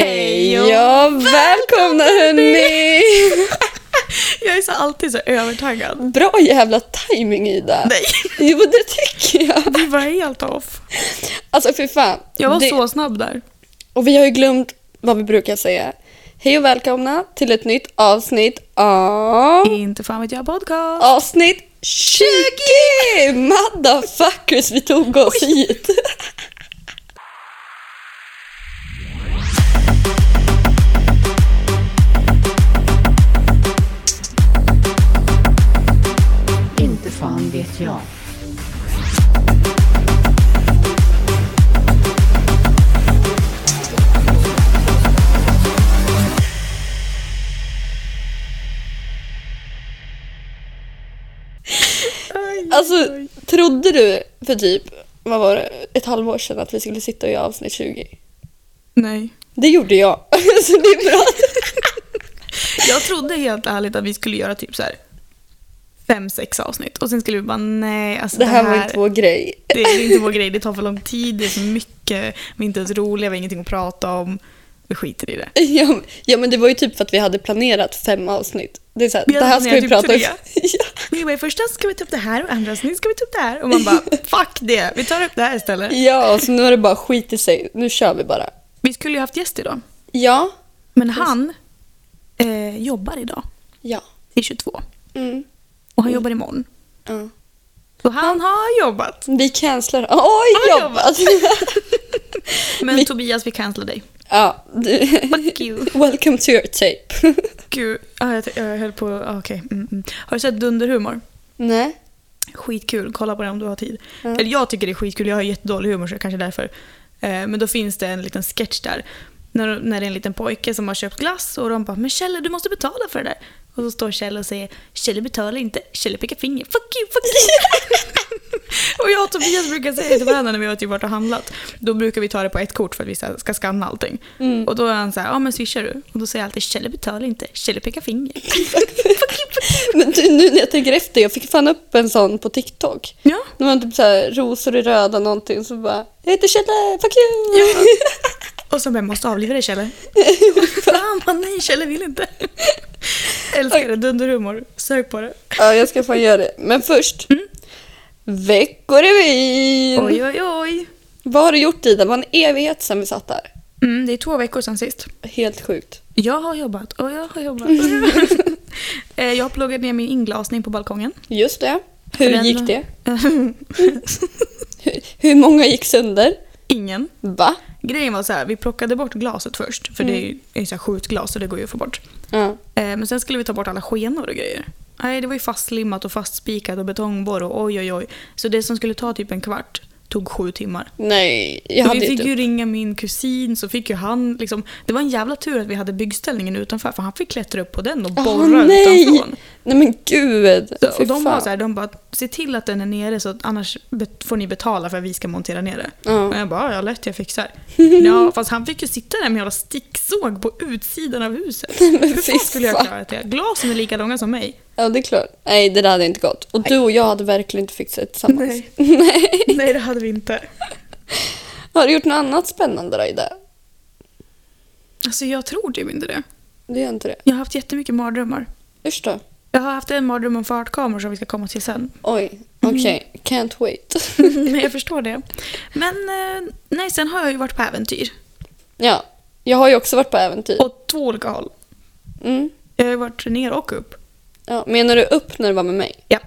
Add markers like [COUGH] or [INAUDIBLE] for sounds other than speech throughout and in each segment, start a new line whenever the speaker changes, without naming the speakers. Hej och välkomna hörni!
Jag är så alltid så
[LAUGHS]
övertaggad.
Bra jävla timing Ida.
Nej,
Jo, det tycker jag.
vi var helt off.
Alltså fy fan.
Jag var
det,
så snabb där.
Och vi har ju glömt vad vi brukar säga. Hej och välkomna till ett nytt avsnitt av...
Inte fan vet jag podcast.
Avsnitt 20! Motherfuckers, vi tog oss hit.
Inte fan vet jag.
Alltså, trodde du för typ, vad var det, ett halvår sedan att vi skulle sitta och göra avsnitt 20?
Nej.
Det gjorde jag. [LAUGHS] Så det är bra.
Jag trodde helt ärligt att vi skulle göra typ så här fem, sex avsnitt och sen skulle vi bara nej, alltså
Det här var inte vår grej.
det är inte vår grej, det tar för lång tid, det är så mycket, vi är inte ens roliga, vi har ingenting att prata om. Vi skiter i det.
[LAUGHS] Ja, men- ja, men det var ju typ för att vi hade planerat fem avsnitt. Det är så här,
Vi
det
hade
här ska vi
planerat
prata om. [LAUGHS]
typ
Ja.
Vi bara, i första ska vi ta upp det här och andra avsnitt ska vi ta upp det här. Och
[LAUGHS]
man bara, fuck det, vi tar upp det här istället.
ja, så nu har det bara skit i sig. Nu kör vi bara.
Vi skulle ju haft gäst idag.
Ja,
Men han eh, jobbar idag.
ja.
I 22.
Mm.
Och han jobbar imorgon.
ja.
Så han har jobbat.
Vi cancelar. Oj, Alltså,
Oj,
jobbat!
Men
Vi-
Tobias, vi cancelar dig.
[LAUGHS] ja, du. [LAUGHS]
Fuck you.
Welcome to your tape.
[LAUGHS] Gud, ah, jag, jag höll på... Ah, okej. Mm, mm. Har du sett Dunderhumor?
Nej.
Skitkul, kolla på det om du har tid. Eller jag tycker det är skitkul, jag har jättedålig humor så det kanske är därför. Eh, men då finns det en liten sketch där. När, när det är en liten pojke som har köpt glass och de bara “men Kjelle du måste betala för det där”. Och så står Kjelle och säger “Kjelle betalar inte, Kjelle pekar finger, fuck you, fuck you”. [LAUGHS] och jag och Tobias brukar säga till varandra när vi har typ varit och handlat. Då brukar vi ta det på ett kort för att vi ska ska scanna allting. Och då är han så här “ja men swishar du?” Och då säger jag alltid “Kjelle betalar inte, Kjelle pekar finger”.
Men du, nu när jag tänker efter, jag fick fan upp en sån på TikTok.
Ja.
Det var typ så här, rosor i röda någonting, så bara “Jag heter Kjelle, fuck you!”
Och så bara, jag måste avliva dig Kjelle. Fan vad nej, Kjelle vill inte. Älskar det, dunderhumor. Sök på det.
Ja, jag ska fan göra det. Men först. Veckorevyn!
Mm. Oj, oj, oj.
Vad har du gjort Ida? Det var en evighet sedan vi satt där.
Mm, det är två veckor sedan sist.
Helt sjukt.
Jag har jobbat och jag har jobbat. Eh, jag har pluggat ner min inglasning på balkongen.
Just det. Hur
Den-
gick
[LAUGHS]
det? Hur, hur många gick sönder?
Ingen.
Va?
Grejen var så här, vi plockade bort glaset först. För det är ju- är ju så här skjutglas så det går ju att få bort.
Ja.
Eh, Men sen skulle vi ta bort alla skenor och grejer. Nej, det var ju fastlimmat och fastspikat och betongborr och oj oj oj. Så det som skulle ta typ en kvart tog sju timmar.
Nej, jag
Och
hade
vi
ju typ-
fick
inte...
ju ringa min kusin, så fick ju han liksom... Det var en jävla tur att vi hade byggställningen utanför, för han fick klättra upp på den och borra
Åh, nej!
utanför.
Nej men gud!
Så,
Fy
och de var
fan.
så här, de bara “se till att den är nere, så att annars bet- får ni betala för att vi ska montera ner det”.
Ja.
Och jag bara “ja, lätt,
[LAUGHS]
jag fixar”. ja, fast han fick ju sitta där med jävla sticksåg på utsidan av huset. Hur
fy
fan skulle jag
fan.
klara det? Glasen är lika långa
[LAUGHS]
som mig.
Ja, det är klart. Nej, det där hade inte gått. Och du och jag hade verkligen inte fixat det tillsammans.
Nej.
[LAUGHS]
Nej, det hade vi inte.
Har du gjort något annat spännande då Ida?
Alltså jag tror typ inte det.
Du gör inte det?
Jag har haft jättemycket mardrömmar.
Usch då.
Jag har haft en mardröm om fartkameror som vi ska komma till sen.
Oj,
Mm.
okej. Can't wait. [LAUGHS]
[LAUGHS] Nej, jag förstår det. Men eh, nej, sen har jag ju varit på äventyr.
Ja, jag har ju också varit på äventyr.
Åt två olika håll.
Mm.
Jag har ju varit ner och upp.
Ja, menar du upp när du var med mig?
Ja,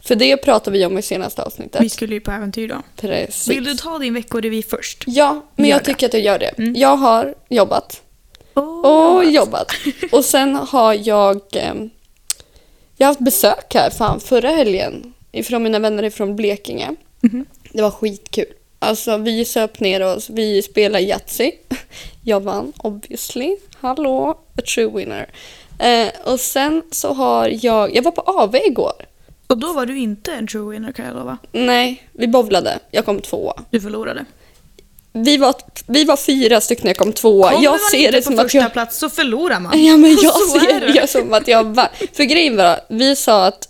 För det pratade vi om i senaste avsnittet.
vi skulle ju på äventyr då.
Precis.
Vill du ta din veckorevy först?
Ja, men
Gör
jag
det.
tycker att jag gör det. Jag har jobbat och
Åh,
jobbat. Och sen har jag... ehm, jag har haft besök här fan förra helgen ifrån mina vänner ifrån Blekinge. Det var skitkul. Alltså vi söp ner oss, vi spelade Yatzy. [LAUGHS] Jag vann obviously. Hallå, a true winner. Eh, och sen så har jag... Jag var på AV igår.
Och då var du inte en true winner kan jag lova.
Nej, vi bowlade. Jag kom tvåa.
Du förlorade.
Vi var, vi var fyra stycken, jag kom tvåa.
Kommer
jag
man
ser
inte
det
på
som
första
att jag...
plats så förlorar man. [LAUGHS]
Ja, men jag
Så är
ser
det.
det ju som att jag vann. För grejen var, vi sa att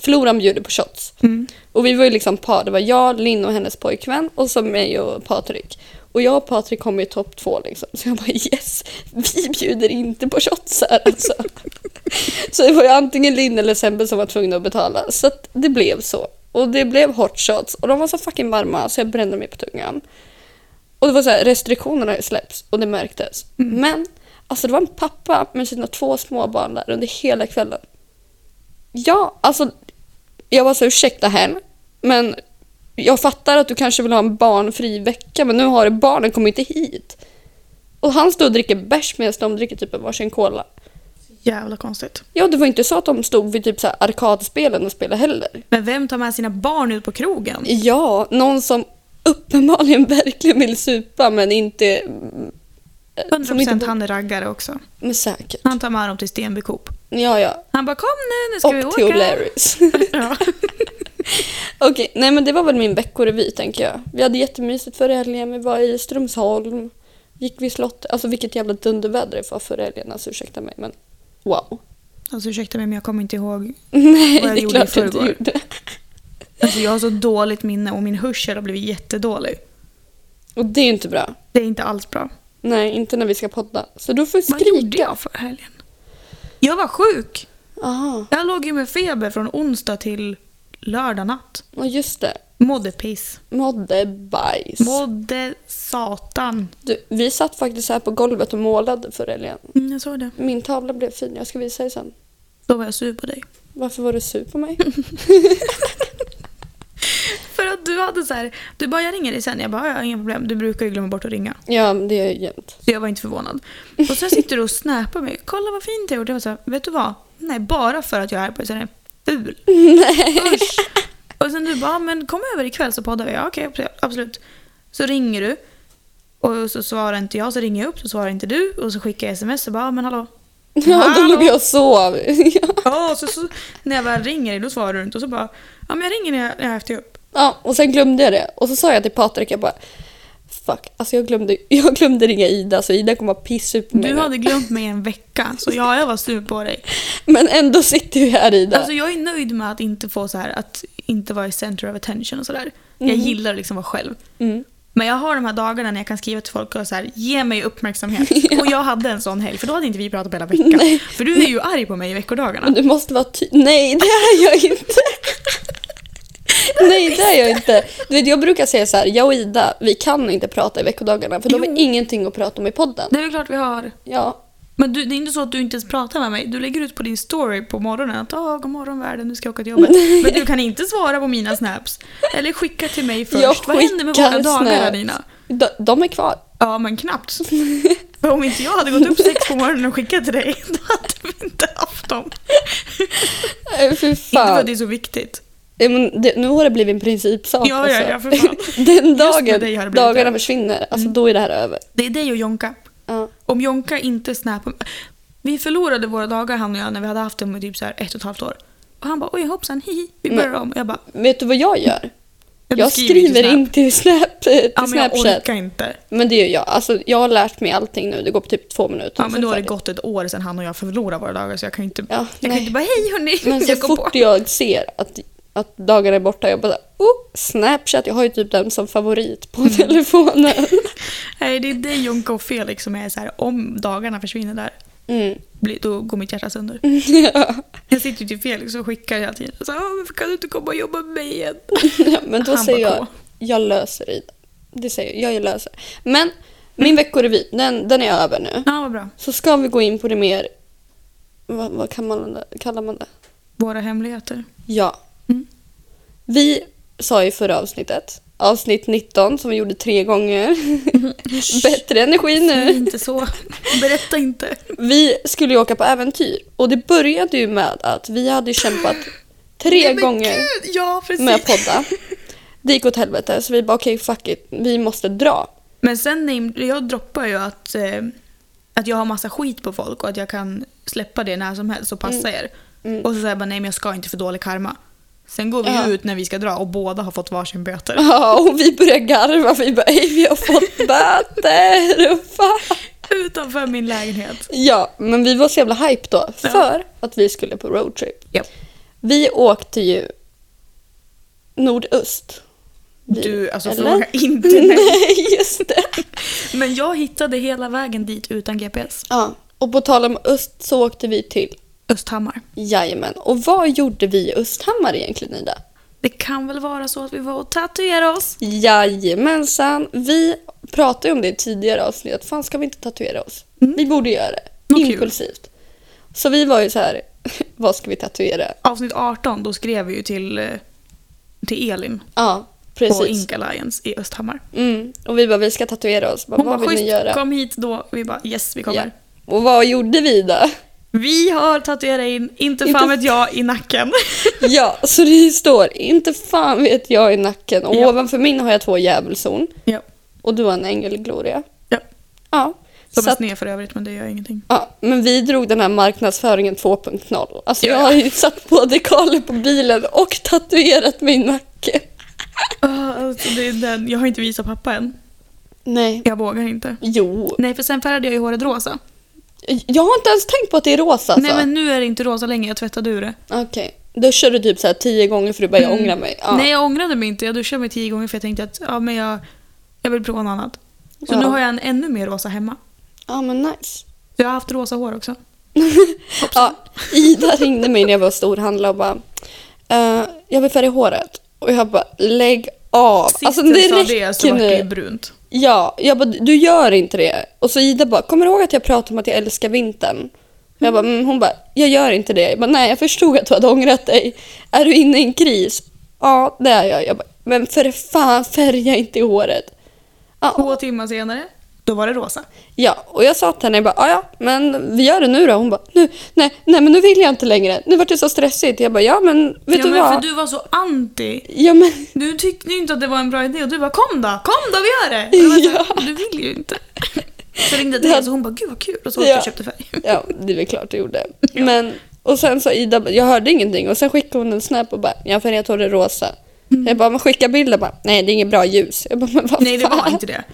Floran bjuder på
Mm.
shots. Och vi var ju liksom par. Det var jag, Linn och hennes pojkvän och så mig och Patrik. Och jag och Patrik kom ju i topp två liksom. Så jag bara yes, vi bjuder inte på shots här alltså. Så det var ju antingen Linn eller Sembe som var tvungna att betala. Så att det blev så. Och det blev hot shots och de var så fucking varma så jag brände mig på tungan. Och det var så här, restriktionerna har ju släppts och det märktes. Men alltså det var en pappa med sina två småbarn där under hela kvällen. Ja, alltså jag var så ursäkta hen, men jag fattar att du kanske vill ha en barnfri vecka men nu har du barnen kommit inte hit. Och han stod och dricker bärs medan de dricker typ en varsin cola.
Jävla konstigt.
Ja, det var inte så att de stod vid typ så här arkadspelen och spelade heller.
Men vem tar med sina barn ut på krogen?
Ja, någon som uppenbarligen [LAUGHS] verkligen vill supa men inte... som inte
100%
bor-
han är raggare också.
Men säkert.
Han tar med dem till Stenby Coop.
Ja, ja.
Han bara kom nu, nu ska vi
Och
åka.
till O'Larrys.
[LAUGHS] Ja.
Okej, nej men det var väl min veckorevy tänker jag. Vi hade jättemysigt förra helgen, vi var i Strömsholm, gick vid slottet. Alltså vilket jävla dunderväder det var förra helgen, alltså ursäkta mig men wow. [LAUGHS]
Alltså ursäkta mig men jag kommer inte ihåg.
Nej,
Vad jag
det är
gjorde i
klart du inte
förrgår.
gjorde.
Alltså jag har så dåligt minne och min hörsel har blivit jättedålig.
Och det är ju inte bra.
Det är inte alls bra.
Nej, inte när vi ska podda. Så du får
Vad gjorde
skrika.
jag för helgen? Jag var sjuk!
Aha,
Jag låg ju med feber från onsdag till lördag natt.
ja just det.
Mådde piss.
Mådde bajs.
Mådde satan.
Du, vi satt faktiskt här på golvet och målade förra helgen.
Mm, jag såg det.
Min tavla blev fin, jag ska visa dig sen.
Då var jag sur på dig.
Varför var du sur på
[LAUGHS]
mig?
För att du hade så här, du bara jag ringer dig sen. Jag bara, jag har inga problem. Du brukar ju glömma bort att ringa.
ja, det är jag jämt. [LAUGHS]
Så jag var inte förvånad. Och sen sitter du och snäpar mig. Kolla vad fint jag gjorde. Jag var så här, vet du vad? Nej, bara för att jag är på så här ful. Usch. Och sen du bara, men kom över ikväll så poddar vi. Ja, okej, absolut. Så ringer du. Och så svarar inte jag, så ringer jag upp, så svarar inte du. Och så skickar jag sms och bara, men hallå.
Ja, då
Hallå?
låg jag och sov. [LAUGHS] Ja.
Ja, och så, så när jag väl ringer dig då svarar du inte och så bara ja men jag ringer när jag, när jag är efter upp.
ja, och sen glömde jag det. Och så sa jag till Patrik, jag bara Fuck, alltså jag glömde, [LAUGHS] jag glömde ringa Ida så Ida kommer att pissa ut på mig
Du
nu.
hade glömt mig en vecka så ja, jag var sur på dig.
Men ändå sitter vi här Ida.
Alltså jag är nöjd med att inte få så här att inte vara i center of attention och sådär. Jag gillar att liksom vara själv.
Mm.
Men jag har de här dagarna när jag kan skriva till folk och så här, ge
[LAUGHS]
mig uppmärksamhet. Och jag hade en sån helg för då hade inte vi pratat på hela veckan.
Nej.
För du är ju arg på mig i veckodagarna.
Men du måste vara ty- Nej, det är jag
[LAUGHS]
inte. Nej, det är jag inte. Du vet, jag brukar säga så här, jag och Ida, vi kan inte prata i veckodagarna för då har vi
Jo.
ingenting att prata om i podden.
Det är väl klart vi har.
Ja,
Men du, det är inte så att du inte ens pratar med mig. Du lägger ut på din story på morgonen att åh, god morgon världen, nu ska jag åka till jobbet. Men du kan inte svara på mina snaps. Eller skicka till mig först.
Jag
Vad händer med
skickar
våra dagar
snaps.
Nina?
de, de är kvar.
Ja, men knappt. För om inte jag hade gått upp sex på morgonen och skickat till dig, [LAUGHS] då hade vi inte haft dem.
Nej, Fy
Inte för att
fan.
det är så viktigt.
Ja, men det, nu har det blivit en principsak. alltså.
Ja, ja, ja, för fan.
[LAUGHS] Den
med
dagen
dig har det blivit
dagarna
det. Mm.
försvinner, alltså då är det här över.
Det är dig och Jonka.
Ja.
Om Jonka inte snappar... Vi förlorade våra dagar han och jag när vi hade haft dem i typ så här ett och ett halvt år. Och han bara oj hoppsan, hihi, vi börjar om. Och jag bara,
Vet du vad jag
[LAUGHS]
gör? Jag,
ju till
skriver
Snap.
in till, snap, eh, till
Ja, men jag
Snapchat.
orkar inte.
Men det gör jag. Alltså, jag har lärt mig allting nu. Det går på typ två minuter.
Ja, men
Sen
då har det
färdigt.
gått ett år sedan han och jag förlorade våra dagar så jag kan ju inte,
Ja,
jag kan
nej.
ju inte bara hej hörni,
Men så
[LAUGHS] jag kom på.
fort jag ser att, att dagarna är borta, jag bara oh, Snapchat, jag har ju typ den som favorit
Mm.
på
[LAUGHS]
telefonen.
Nej, det är dig Jonka och Felix som är så här, om dagarna försvinner där,
Mm. [LAUGHS]
blir- då går mitt hjärta sönder.
Ja.
Jag sitter ju till Felix och skickar hela tiden. Så, "Åh, varför kan du inte komma och jobba med mig igen?
Ja, men då
Han
säger
bara,
jag, jag löser i det. Det säger jag, jag löser. Men min veckorevy, den, den är över nu.
Ja, vad bra.
Så ska vi gå in på det mer, vad, vad kan man, kallar man det?
Våra hemligheter.
Ja.
Mm.
Vi sa i förra avsnittet, avsnitt 19 som vi gjorde tre gånger.
Mm-hmm.
[LAUGHS] Bättre energi
Säg
nu.
inte så. Berätta [LAUGHS] inte.
Vi skulle ju åka på äventyr och det började ju med att vi hade ju kämpat tre
Nej, men
gånger
Gud, ja, precis.
med att podda. Det gick åt helvete så vi bara okej fuck it, vi måste dra.
Men sen name- jag droppar ju att, eh, att jag har massa skit på folk och att jag kan släppa det när som helst och passa er. Och så säger jag bara nej men jag ska inte för dålig karma. Sen går vi
Ja.
ut när vi ska dra och båda har fått varsin böter. [LAUGHS]
Ja, och vi började garva för vi bara "Ey, vi har fått böter. och fan."
Utanför min lägenhet.
Ja, men vi var så jävla hype då
Ja.
för att vi skulle på roadtrip.
Ja.
Vi åkte ju nordöst.
Du, alltså
Eller?
fråga inte [LAUGHS]
[LAUGHS]
mig.
Nej, just det.
Men jag hittade hela vägen dit utan GPS.
Ja, och på tal om öst så åkte vi till
Östhammar.
Jajamän. Och vad gjorde vi i Östhammar egentligen, Ida?
Det kan väl vara så att vi var och tatuerade oss?
Jajamensan. Vi pratade ju om det i tidigare avsnitt. att Fan, ska vi inte tatuera oss?
Mm.
Vi borde göra det.
Vad kul.
Impulsivt. Så vi var ju så här, [LAUGHS] vad ska vi tatuera?
Avsnitt 18, då skrev vi ju till, eh, till Elin
Ja,
på
precis.
Ink Alliance i Östhammar.
Mm. Och vi bara, vi ska tatuera oss. Bara,
Hon
vad
bara,
vill ni
schysst,
göra?
kom hit då. Vi bara, yes vi kommer.
Ja. Och vad gjorde vi då?
Vi har tatuerat in, inte
Inte
fan
f-
vet jag,
[LAUGHS]
i nacken.
ja, så det står, inte fan vet jag i nacken. Och
Ja.
ovanför min har jag två djävulshorn.
[LAUGHS] ja.
Och du har en ängel, Gloria.
ja.
Ja.
Som
Så
är
att,
sned för övrigt, men det gör ingenting.
ja, men vi drog den här marknadsföringen 2.0. Alltså
Ja.
jag har ju satt på dekaler på bilen och tatuerat min nacke.
Ah, alltså, det är den. Jag har inte visat pappa än.
Nej.
Jag vågar inte.
Jo.
Nej, för sen färgade jag ju håret rosa.
Alltså. Jag har inte ens tänkt på att det är rosa alltså.
Nej, men nu är det inte rosa längre. Jag tvättade ur det.
Okej. Duschar du typ så här tio gånger för du bara jag
Mm.
ångrar mig? Ja.
Nej, jag ångrade mig inte. Jag duschade mig tio gånger för jag tänkte att ja, men jag, jag vill prova något annat. Så
Ja.
nu har jag en ännu mer rosa hemma.
Ja men nice.
Jag har haft rosa
[LAUGHS]
hår också.
Ja, Ida ringde mig när jag var och storhandlade och bara eh, “Jag vill färga håret” och jag bara “Lägg av!” Alltså,
Sist jag sa det alltså, så var det ju brunt.
Ja, jag bara “Du gör inte det” och så Ida bara “Kommer du ihåg att jag pratade om att jag älskar vintern?” Och jag bara, mm. Hon bara “Jag gör inte det” jag bara “Nej, jag förstod att du hade ångrat dig. Är du inne i en kris?” “Ja, det är jag” jag bara “Men för fan, färga inte i håret” ja,
Två timmar senare, då var det rosa.
ja, och jag sa till henne jag bara "Ah, “Ja, ja, men vi gör det nu då” Hon bara “Nu, nej, nej, men nu vill jag inte längre. Nu vart det så stressigt” Jag bara “Ja, men vet
ja,
du
men
vad?”
För du var så anti.
Ja men,
Du tyckte ju inte att det var en bra idé och du bara kom då, kom då vi gör det!
[LAUGHS]
Och jag var så här, Du vill ju inte. Så ringde jag till
Ja.
henne så hon bara gud vad kul och så åkte
Ja.
jag och köpte färg.
ja det är väl klart jag gjorde. Men, och sen sa Ida, jag hörde ingenting och sen skickade hon en snap och bara, jag har färgat håret rosa. Jag bara, men skicka bilder bara, nej det är inget bra ljus. Jag bara, men [LAUGHS] vad
Mm. Nej det var
fan?
inte det.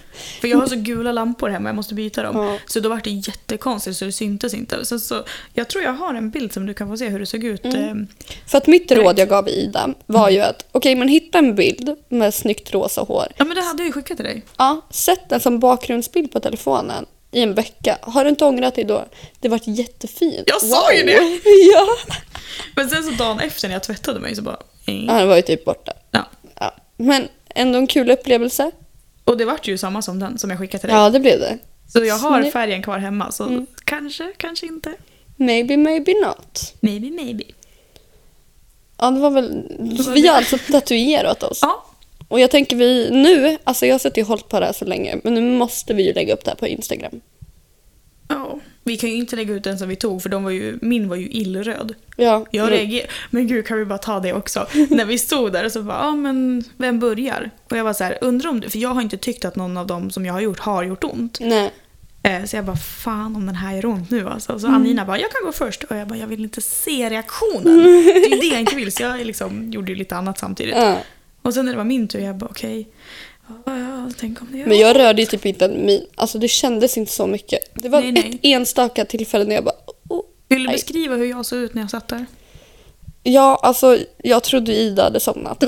För jag har så gula lampor hemma, jag måste byta dem.
Ja.
Så då var det jättekonstigt så det syntes inte. Så, så, jag tror jag har en bild som du kan få se hur det såg
Mm.
ut. eh,
För att mitt råd jag gav Ida var ju att, okej men hitta en bild med snyggt rosa hår.
Ja men det hade jag ju skickat till dig.
Ja, sätt den som bakgrundsbild på telefonen i en vecka. Har du inte ångrat dig då? Det vart jättefint.
Jag sa ju det.
[LAUGHS] ja.
Men sen så dagen efter när jag tvättade mig så bara... eh,
ja, den var ju typ borta.
Ja.
Ja. Men ändå en kul upplevelse.
Och det vart ju samma som den som jag skickade till dig.
Ja, det blev det.
Så jag har
Snyggt. Mm.
färgen kvar hemma så kanske, kanske inte.
Maybe, maybe not.
Maybe, maybe.
Ja, det var väl...
var
Vi
det.
har alltså tatuerat oss.
Ja,
Och jag tänker vi nu, alltså jag har suttit och hållit på det här så länge, men nu måste vi ju lägga upp det här på Instagram.
Ja, vi kan ju inte lägga ut den som vi tog för de var ju, min var ju illröd.
Ja,
Jag
mm.
reagerade, men gud kan vi bara ta det också? [LAUGHS] När vi stod där och så bara, ja ah, men vem börjar? Och jag var så här, undrar om det, för jag har inte tyckt att någon av dem som jag har gjort har gjort ont.
Nej.
Eh, Så jag bara, fan om den här gör ont nu alltså.
Mm.
Så Anina bara, jag kan gå först. Och jag bara, jag vill inte se reaktionen. Det är ju det jag inte vill, så jag liksom gjorde ju lite annat samtidigt.
Ja.
Och sen när det var min tur, jag bara okej, ja, ja, tänk om det gör
Men jag rörde ju typ inte en min. Alltså det kändes inte så mycket. Det var
Nej, nej.
ett enstaka tillfälle när jag bara... Oh.
Vill du
Aj.
beskriva hur jag såg ut när jag satt där?
Ja, alltså jag trodde Ida hade
[LAUGHS]
somnat.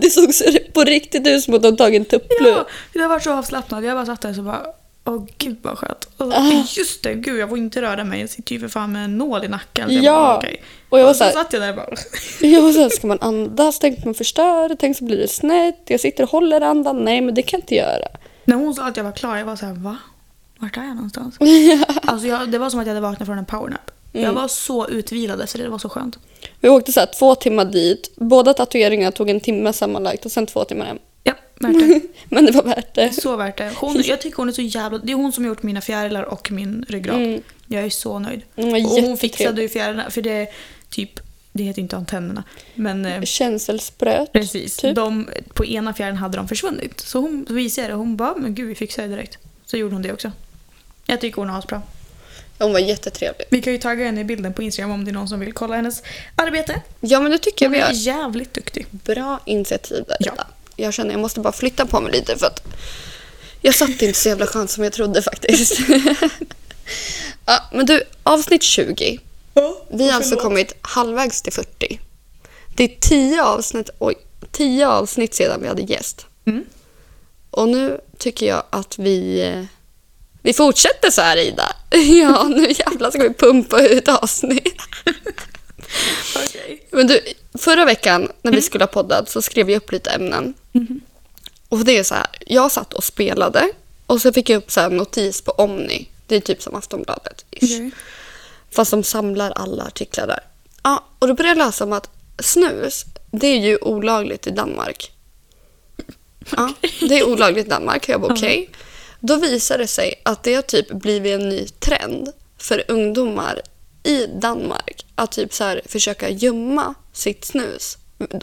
det såg så på riktigt ut som att de tagit en tupplur.
Ja, jag var så avslappnad. Jag bara satt där och så bara, åh gud vad skönt. Och så,
Ah.
Just det, gud jag får inte röra mig. Jag sitter ju för fan med en nål i nacken. Så
Ja.
Jag bara, okej.
Och jag var
och
så
så
här-
satt jag där och bara, [LAUGHS]
Jag var såhär, ska man andas? Tänk man förstör? Tänk så blir det snett? Jag sitter och håller andan? Nej, men det kan jag inte göra.
när hon sa att jag var klar, jag var så här, va? Vart är
[LAUGHS]
jag någonstans? alltså jag, det var som att jag hade vaknat från en powernap.
Mm.
Jag var så utvilad efter det, det var så skönt.
Vi åkte så här, två timmar dit. Båda tatueringarna tog en timme sammanlagt och sen två timmar hem.
Ja, värt
[LAUGHS]
det.
Men det var värt det.
Så värt det. Hon, jag tycker hon är så jävla... Det är hon som har gjort mina fjärilar och min ryggrad.
Mm.
Jag är så nöjd.
Hon var
och hon
jättetrevlig.
fixade ju fjärilarna, för det är typ... Det heter inte antennerna, men... eh,
Känselspröt.
Precis.
Typ.
De, på ena fjärden hade de försvunnit. Så hon så visade jag det. Hon bara, men gud vi fixar det direkt. Så gjorde hon det också. Jag tycker hon har bra.
Hon var jättetrevlig.
Vi kan ju tagga henne i bilden på Instagram om det är någon som vill kolla hennes arbete.
Ja, men det tycker jag
Hon
vi
är
har.
jävligt duktig.
Bra initiativ där.
Ja.
Ida. Jag känner jag måste bara flytta på mig lite för att jag satt inte så jävla skönt som jag trodde faktiskt. [LAUGHS] ja, alltså men du, avsnitt 20. Vi har alltså kommit halvvägs till 40. Det är tio avsnitt, oj, tio avsnitt sedan vi hade gäst.
Mm.
Och nu tycker jag att vi... eh, Vi fortsätter så här, Ida. [LAUGHS] Ja, nu jävlar ska vi pumpa ut avsnitt. Men du, förra veckan när vi skulle ha poddat så skrev jag upp lite ämnen. Och det är så här, jag satt och spelade och så fick jag upp så här en notis på Omni. Det är typ som Aftonbladet. ish
Okej.
Fast de samlar alla artiklar där. Ja, och då började jag läsa om att snus, det är ju olagligt i Danmark. Ja, det är olagligt i Danmark. Jag bara okej. Då visar det sig att det har typ blivit en ny trend för ungdomar i Danmark att typ så här försöka gömma sitt snus.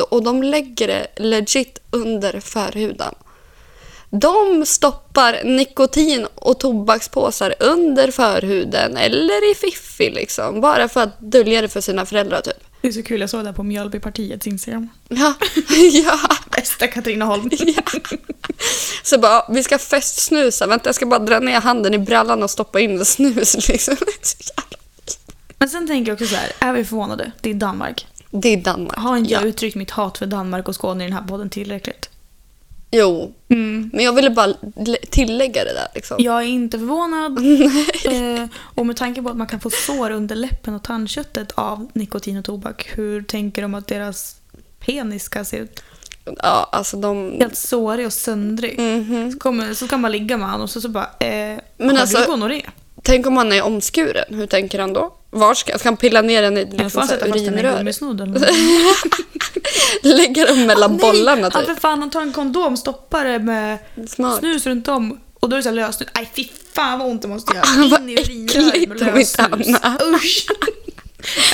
Och de lägger det legit under förhuden. De stoppar nikotin och tobakspåsar under förhuden eller i fiffi liksom. Bara för att dölja det för sina föräldrar typ.
Det är så kul, jag såg det här på Mjölbypartiets Instagram.
Ja, [LAUGHS] ja.
Bästa Katrineholm.
[LAUGHS] Så bara, vi ska festsnusa. Vänta, jag ska bara dra ner handen i brallan och stoppa in snus [LAUGHS] liksom.
Men sen tänker jag också så här, är vi förvånade? Det är Danmark.
Det är Danmark.
Har inte jag uttryckt mitt hat för Danmark och Skåne i den här podden tillräckligt?
Jo, men jag ville bara tillägga det där liksom.
Jag är
[LAUGHS]
inte förvånad. eh, och med tanke på att man kan få sår under läppen och tandköttet av nikotin och tobak, hur tänker de att deras penis ska se ut?
Ja, alltså de...
Helt sårig och söndrig. Så, kommer, så ska man ligga med honom och så, så bara eh,
Mm-hmm. Men
“Har
alltså-
du gonorré?”
Tänk om han är omskuren, hur tänker han då? Var ska, ska han pilla ner den i
Eller får
liksom,
han
så
sätta
här,
fast den i
urinröret?
gummisnodden?
[LAUGHS] Lägga dem mellan
Nej,
bollarna
Han
typ?
för fan, han tar en kondom, stoppar det med
Smart.
snus runt om och då är det såhär löst. Nej fy fan vad ont det måste
Ah,
göra.
[LAUGHS] vad
In i urinröret med
äckligt om inte
lössnus.
annat. [LAUGHS]
Usch!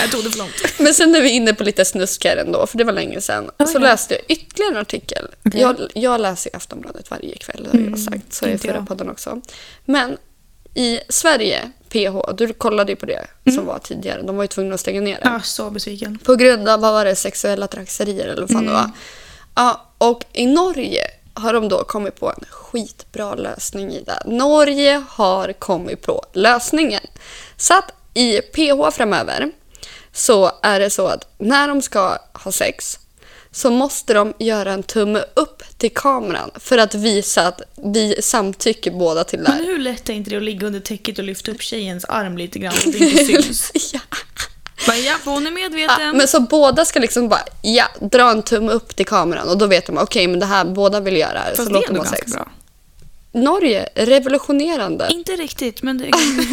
Jag tog det för långt.
Men sen är vi inne på lite snuskar ändå, för det var länge sedan. Så
ja.
läste jag ytterligare en artikel. Jag, jag läser i Aftonbladet varje kväll, har jag sagt. Så är
inte
förra
Mm, jag.
podden också. Men i Sverige, PH, du kollade ju på det
Mm.
som var tidigare. De var ju tvungna att stänga ner det.
Jag är så besviken.
På grund av vad var det, sexuella trakasserier eller vad fan
Mm.
det var. Ja, och i Norge har de då kommit på en skitbra lösning i det. Norge har kommit på lösningen. Så att i PH framöver så är det så att när de ska ha sex så måste de göra en tumme upp till kameran för att visa att vi samtycker båda till det
Men
här.
hur lätt är inte det att ligga under täcket och lyfta upp tjejens arm lite grann så att
[LAUGHS]
det inte syns?
ja.
Men ja, hon är
Ja,
medveten.
Ah, men så båda ska liksom bara ja, dra en tumme upp till kameran och då vet de okej, men det här båda vill göra det, så
Fast det är
låter
ändå
man
ganska
sex.
bra.
Norge, revolutionerande.
Inte riktigt, men
[LAUGHS]
det är...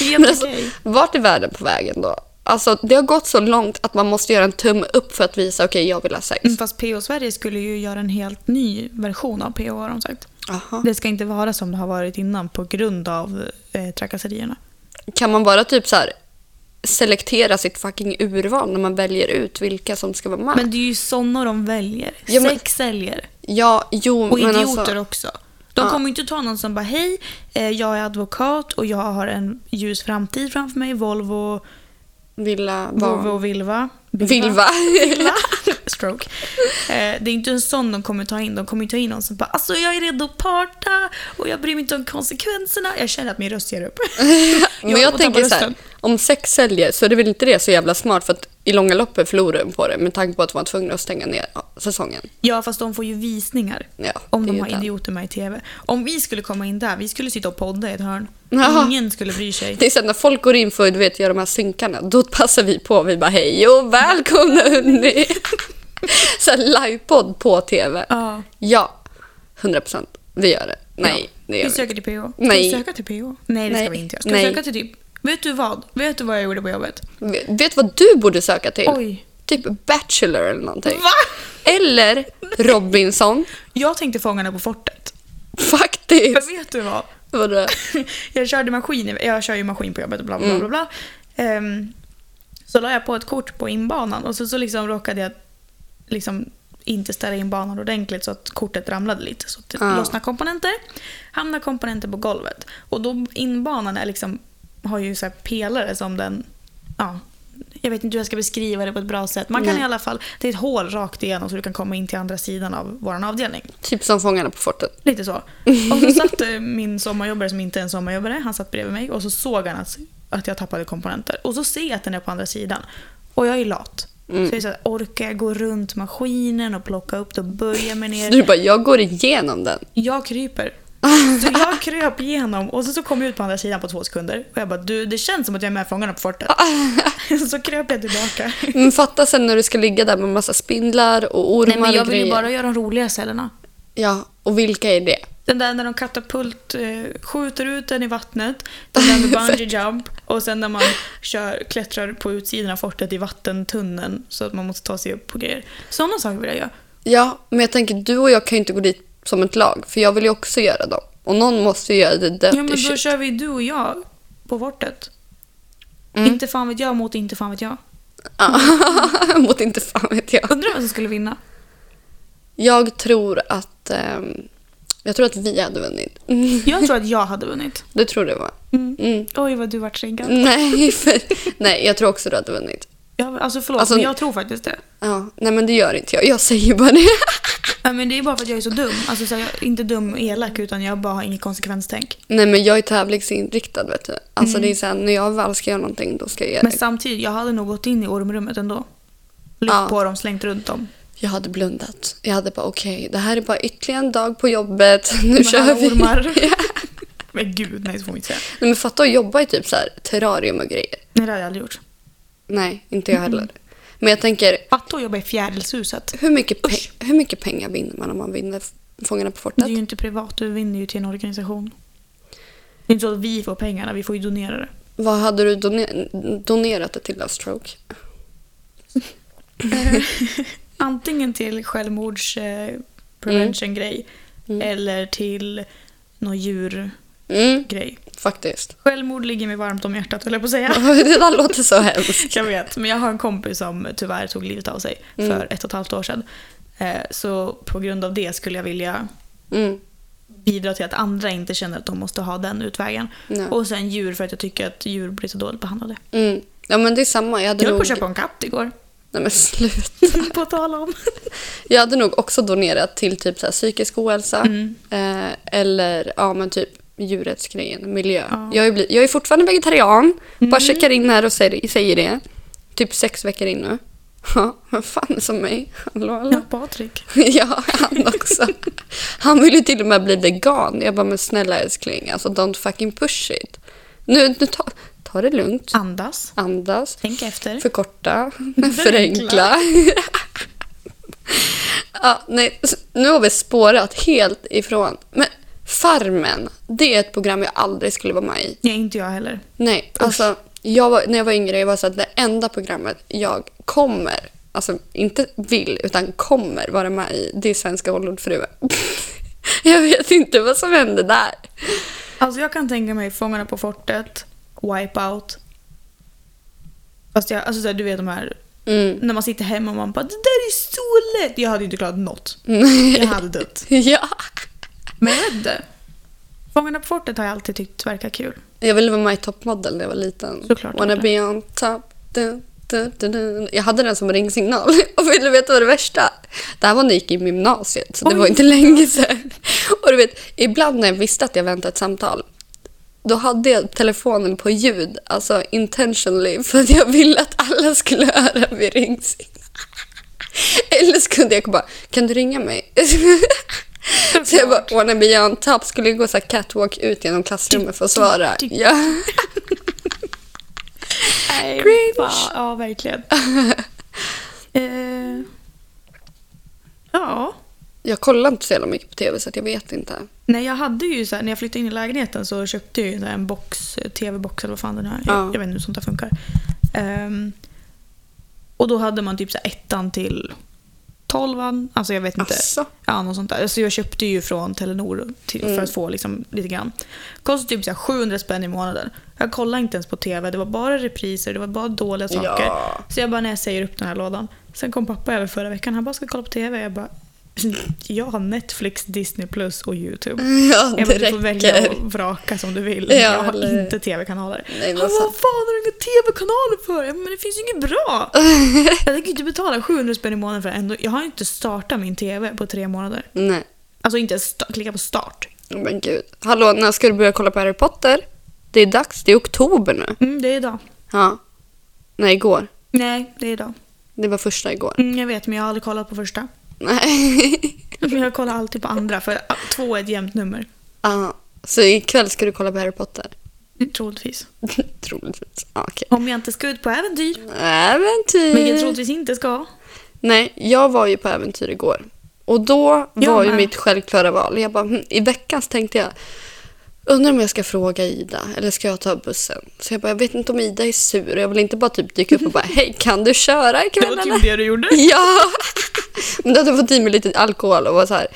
Men
Helt
alltså,
okej.
vart är världen på vägen då? Alltså, det har gått så långt att man måste göra en tumme upp för att visa okej, jag vill ha sex.
Mm, Fast PO Sverige skulle ju göra en helt ny version av PO har de sagt.
Aha.
Det ska inte vara som det har varit innan på grund av eh, trakasserierna.
Kan man bara typ så här selektera sitt fucking urval när man väljer ut vilka som ska vara med?
Men det är ju sådana de väljer.
Ja, men-
Sex säljer.
ja, jo,
Och
men
idioter
alltså,
också. De
Ja.
kommer ju inte ta någon som bara hej, eh, jag är advokat och jag har en ljus framtid framför mig. Volvo,
vilja
Volvo
vara...
och Vilva.
Vilva.
[LAUGHS] Stroke. Eh, det är inte en sån de kommer ta in. De kommer ju ta in någon som bara “alltså jag är redo att parta och jag bryr mig inte om konsekvenserna”. Jag känner att min röst ger
[LAUGHS]
upp.
Men
Jag
jag,
håller på att
tänker
tappa
så här,
rösten.
om sex säljer så är det väl inte det så jävla smart för att i långa loppet förlorar de på det med tanke på att de var tvungna att stänga ner ja, säsongen.
Ja, fast de får ju visningar.
Ja,
om
det är
de
ju
har
den.
idioter med i TV. Om vi skulle komma in där, vi skulle sitta och podda i ett hörn.
Jaha.
Ingen skulle bry sig.
Det är sen när folk går in för att du vet, göra de här synkarna, då passar vi på. Vi bara hej och välkomna hörni! [LAUGHS] så här, livepodd på TV.
Ja.
Ja, 100 procent. Vi gör det. Nej, det gör
Vi
vi
söker till PO. Ska
Nej.
vi söka till PO? Nej, det ska
Nej.
vi inte göra. Ska
Nej.
vi söka till typ... Vet du vad? Vet du vad jag gjorde på jobbet?
inte. Vet du vad du borde söka till?
Oj.
Typ Bachelor eller någonting.
Va?
Eller
[LAUGHS]
Robinson.
Jag tänkte Fångarna på fortet. Men
Faktiskt.
vet du vad?
Vadå?
[LAUGHS] jag körde maskin, i- jag kör ju maskin på jobbet och bla bla
Mm.
bla. bla, bla. Ehm, så la jag på ett kort på inbanan och så, så liksom råkade jag liksom inte ställa in banan ordentligt så att kortet ramlade lite. Så att det
Ah.
lossnade komponenter, hamnade komponenter på golvet. Och då inbanan är liksom, har ju så här pelare som den... Ja, jag vet inte hur jag ska beskriva det på ett bra sätt. Man kan
Nej.
i alla fall, det är ett hål rakt igenom så du kan komma in till andra sidan av vår avdelning.
Typ som Fångarna på fortet.
Lite så. Och så satt eh, min sommarjobbare som inte är en sommarjobbare, han satt bredvid mig och så såg han att, att jag tappade komponenter. Och så ser jag att den är på andra sidan. Och jag är lat.
Mm.
Så jag sa, orkar jag gå runt maskinen och plocka upp det och böja mig ner?
Du bara, jag går igenom den.
Jag kryper. Så jag kröp igenom och så, så kom jag ut på andra sidan på två sekunder. Och jag bara, du det känns som att jag är med fångarna
[LAUGHS]
på fortet. Så kröp jag tillbaka.
Men fatta sen när du ska ligga där med massa spindlar och ormar
Nej men jag
och
vill
grejer.
ju bara göra de roliga cellerna.
Ja, och vilka är det?
Den där när de katapult eh, skjuter ut den i vattnet. Den där med bungee jump. Och sen när man kör, klättrar på utsidan av fortet i vattentunneln så att man måste ta sig upp på grejer. Sådana saker vill jag göra.
Ja, men jag tänker du och jag kan ju inte gå dit som ett lag, för jag vill ju också göra dem. Och någon måste ju göra det dirty
Ja men då
shit.
kör vi du och jag på fortet.
Mm.
Inte fan vet jag mot inte fan vet jag.
Ja. [LAUGHS] Mot inte fan vet jag.
Undrar vem som skulle vinna.
Jag tror att... ehm, jag tror att vi hade vunnit. [LAUGHS] Mm,
Jag tror att jag hade vunnit.
du tror det va?
Mm.
Mm.
Oj vad du vart triggad.
Nej, för, [LAUGHS] nej, jag tror också du hade vunnit.
Ja, alltså förlåt
Alltså-
men jag tror faktiskt det.
Ja, nej men det gör inte jag. Jag säger bara det.
Ja, men det är bara för att jag är så dum. Alltså så här, jag är inte dum och elak utan jag bara har inget konsekvenstänk.
Nej men jag är tävlingsinriktad vet du. Alltså det är såhär, när jag väl ska göra någonting då ska jag göra
Mm. Men
det.
samtidigt, jag hade nog gått in i ormrummet ändå. Lyft
Ja.
på dem, slängt runt dem.
Jag hade blundat. Jag hade bara okej, det här är bara ytterligare en dag på jobbet. [LAUGHS] Nu
Med
kör
alla
vi.
ormar.
[LAUGHS] Ja.
Men gud, nej så får man inte säga.
Nej men fatta att jobba i typ så här, terrarium och grejer.
Nej det hade jag aldrig gjort.
Nej, inte jag heller. Men jag tänker,
Fatta att jobba i fjärilshuset.
hur mycket, pe- hur mycket pengar vinner man om man vinner Fångarna på
Det
fortet?
är ju inte privat, du vinner ju till en organisation. Det är inte så att vi får pengarna, vi får ju donera
[LAUGHS]
det.
Vad hade du doner- donerat det till av stroke?
Antingen till självmords eh,
Mm.
prevention-grej eller till någon djurgrej.
Mm, faktiskt.
Självmord ligger mig varmt om hjärtat höll jag på att säga.
[LAUGHS] det där låter så hemskt.
Jag vet, [LAUGHS] Mm. men jag har en kompis som tyvärr tog livet av sig för ett och ett halvt år sedan. Eh, Så på grund av det skulle jag vilja
Mm,
bidra till att andra inte känner att de måste ha den utvägen.
Ja.
Och sen djur för att jag tycker att djur blir så dåligt behandlade.
mm. Ja men det är samma, jag hade
Jag höll på
nog...
att köpa en katt igår, [LAUGHS]
Nej men slut.
på tal om.
Jag hade nog också donerat till typ så här psykisk ohälsa eh, eller ja, men typ djurrättsgrejen, miljö.
Ja.
Jag, är bli, jag är fortfarande vegetarian, bara checkar in här och säger, säger det. Typ sex veckor in nu. [LAUGHS] Ja, men fan är som mig. Hallå, hallå. [LAUGHS]
Ja, Patrik.
Ja, han också. [LAUGHS] Han vill ju till och med bli vegan. Jag bara, men snälla älskling, alltså don't fucking push it. Nu, nu ta, ta det lugnt,
Andas.
andas.
Tänk efter.
Förkorta, [LAUGHS] förenkla. ja, nej, s- nu har vi spårat helt ifrån. Men Farmen, det är ett program jag aldrig skulle vara med i.
Nej, inte jag heller.
Nej, alltså jag var, när jag var yngre jag var så att det enda programmet jag kommer, alltså inte vill, utan kommer vara med i, det är Svenska Hollywoodfruar. [LAUGHS] jag vet inte vad som hände där.
Alltså jag kan tänka mig Fångarna på fortet, Wipeout. Fast jag, alltså så här, du vet de här,
Mm.
när man sitter hemma och man bara “det där är så lätt”. Jag hade ju inte klarat något. Jag hade dött.
Mm. [LAUGHS] ja.
Men jag vet inte. Fångarna på fortet har jag alltid tyckt verkar kul.
Jag ville vara med i Toppmodell när jag var liten.
Såklart du
Wanna
ville.
be on top. Du, du, du, du. Jag hade den som ringsignal. [LAUGHS] Och vill du veta vad det värsta? Det här var när jag gick i gymnasiet, så det
Oj.
var inte länge sedan. [LAUGHS] Och du vet, ibland när jag visste att jag väntade ett samtal, då hade jag telefonen på ljud, alltså intentionally, [LAUGHS] för att jag ville att alla skulle höra min ringsignal. [LAUGHS] Eller så kunde jag bara, kan du ringa mig? [LAUGHS] [LAUGHS] Så [LAUGHS] jag bara, wanna be on top, skulle gå så här catwalk ut genom klassrummet för att svara. Ja.
[LAUGHS] Nej, fan,
[LAUGHS]
Ja, verkligen. eh, ja.
Jag kollar inte så jävla mycket på tv så att jag vet inte.
Nej, jag hade ju så här, när jag flyttade in i lägenheten så köpte jag ju så här en box, tv-box eller vad fan den är.
Ja.
Jag, jag vet inte hur sånt där funkar. Ehm, och då hade man typ så här ettan till tolvan, alltså jag vet inte.
Asså? Mm.
Ja, något sånt där. Alltså jag köpte ju från Telenor till, för att få liksom, lite grann. Kostade typ så här 700 spänn i månaden. Jag kollade inte ens på tv, det var bara repriser, det var bara dåliga saker.
Ja.
Så jag bara, när jag säger upp den här lådan. Sen kom pappa över förra veckan, han bara, ska vi kolla på tv? Jag bara, jag har Netflix, Disney plus och YouTube.
Ja,
Jag bara, du får välja att vraka som du vill. men
Mm, Ja,
jag har
eller-
inte tv-kanaler.
Nej,
Han
men alltså-
bara, vad
sant.
fan har du inga tv-kanaler för? Jag bara, Men det finns ju inget bra. jag tänker inte betala 700 spänn i månaden för det. ändå. Jag har ju inte startat min tv på tre månader.
[LAUGHS] Nej,
Alltså inte ens sta- klicka på start.
Åh, men gud. Hallå, när ska du börja kolla på Harry Potter? Det är dags, det är oktober nu.
Mm, det är idag.
Ja. Nej, igår.
Nej, det är idag.
Det var första igår. [LAUGHS]
Mm, jag vet, men jag har aldrig kollat på första.
Nej.
Men jag kollar alltid på andra, för ah, två är ett jämnt nummer.
Ja, så ikväll ska du kolla på Harry Potter? [LAUGHS]
Troligtvis.
troligtvis. Ja, okej. typ.
Om jag inte ska ut på äventyr,
Äventyr!
vilket jag troligtvis inte ska.
Nej, jag var ju på äventyr igår. Och då
Jag
var ju
med.
mitt självklara val. Jag bara, hm, I veckans tänkte jag, undrar om jag ska fråga Ida eller ska jag ta bussen? Så jag bara, jag vet inte om Ida är sur och jag vill inte bara typ dyka upp och bara, hej kan du köra
Det
ikväll
var
eller? [LAUGHS]
typ det du gjorde.
Ja! Men då hade jag fått i mig lite alkohol och var så här,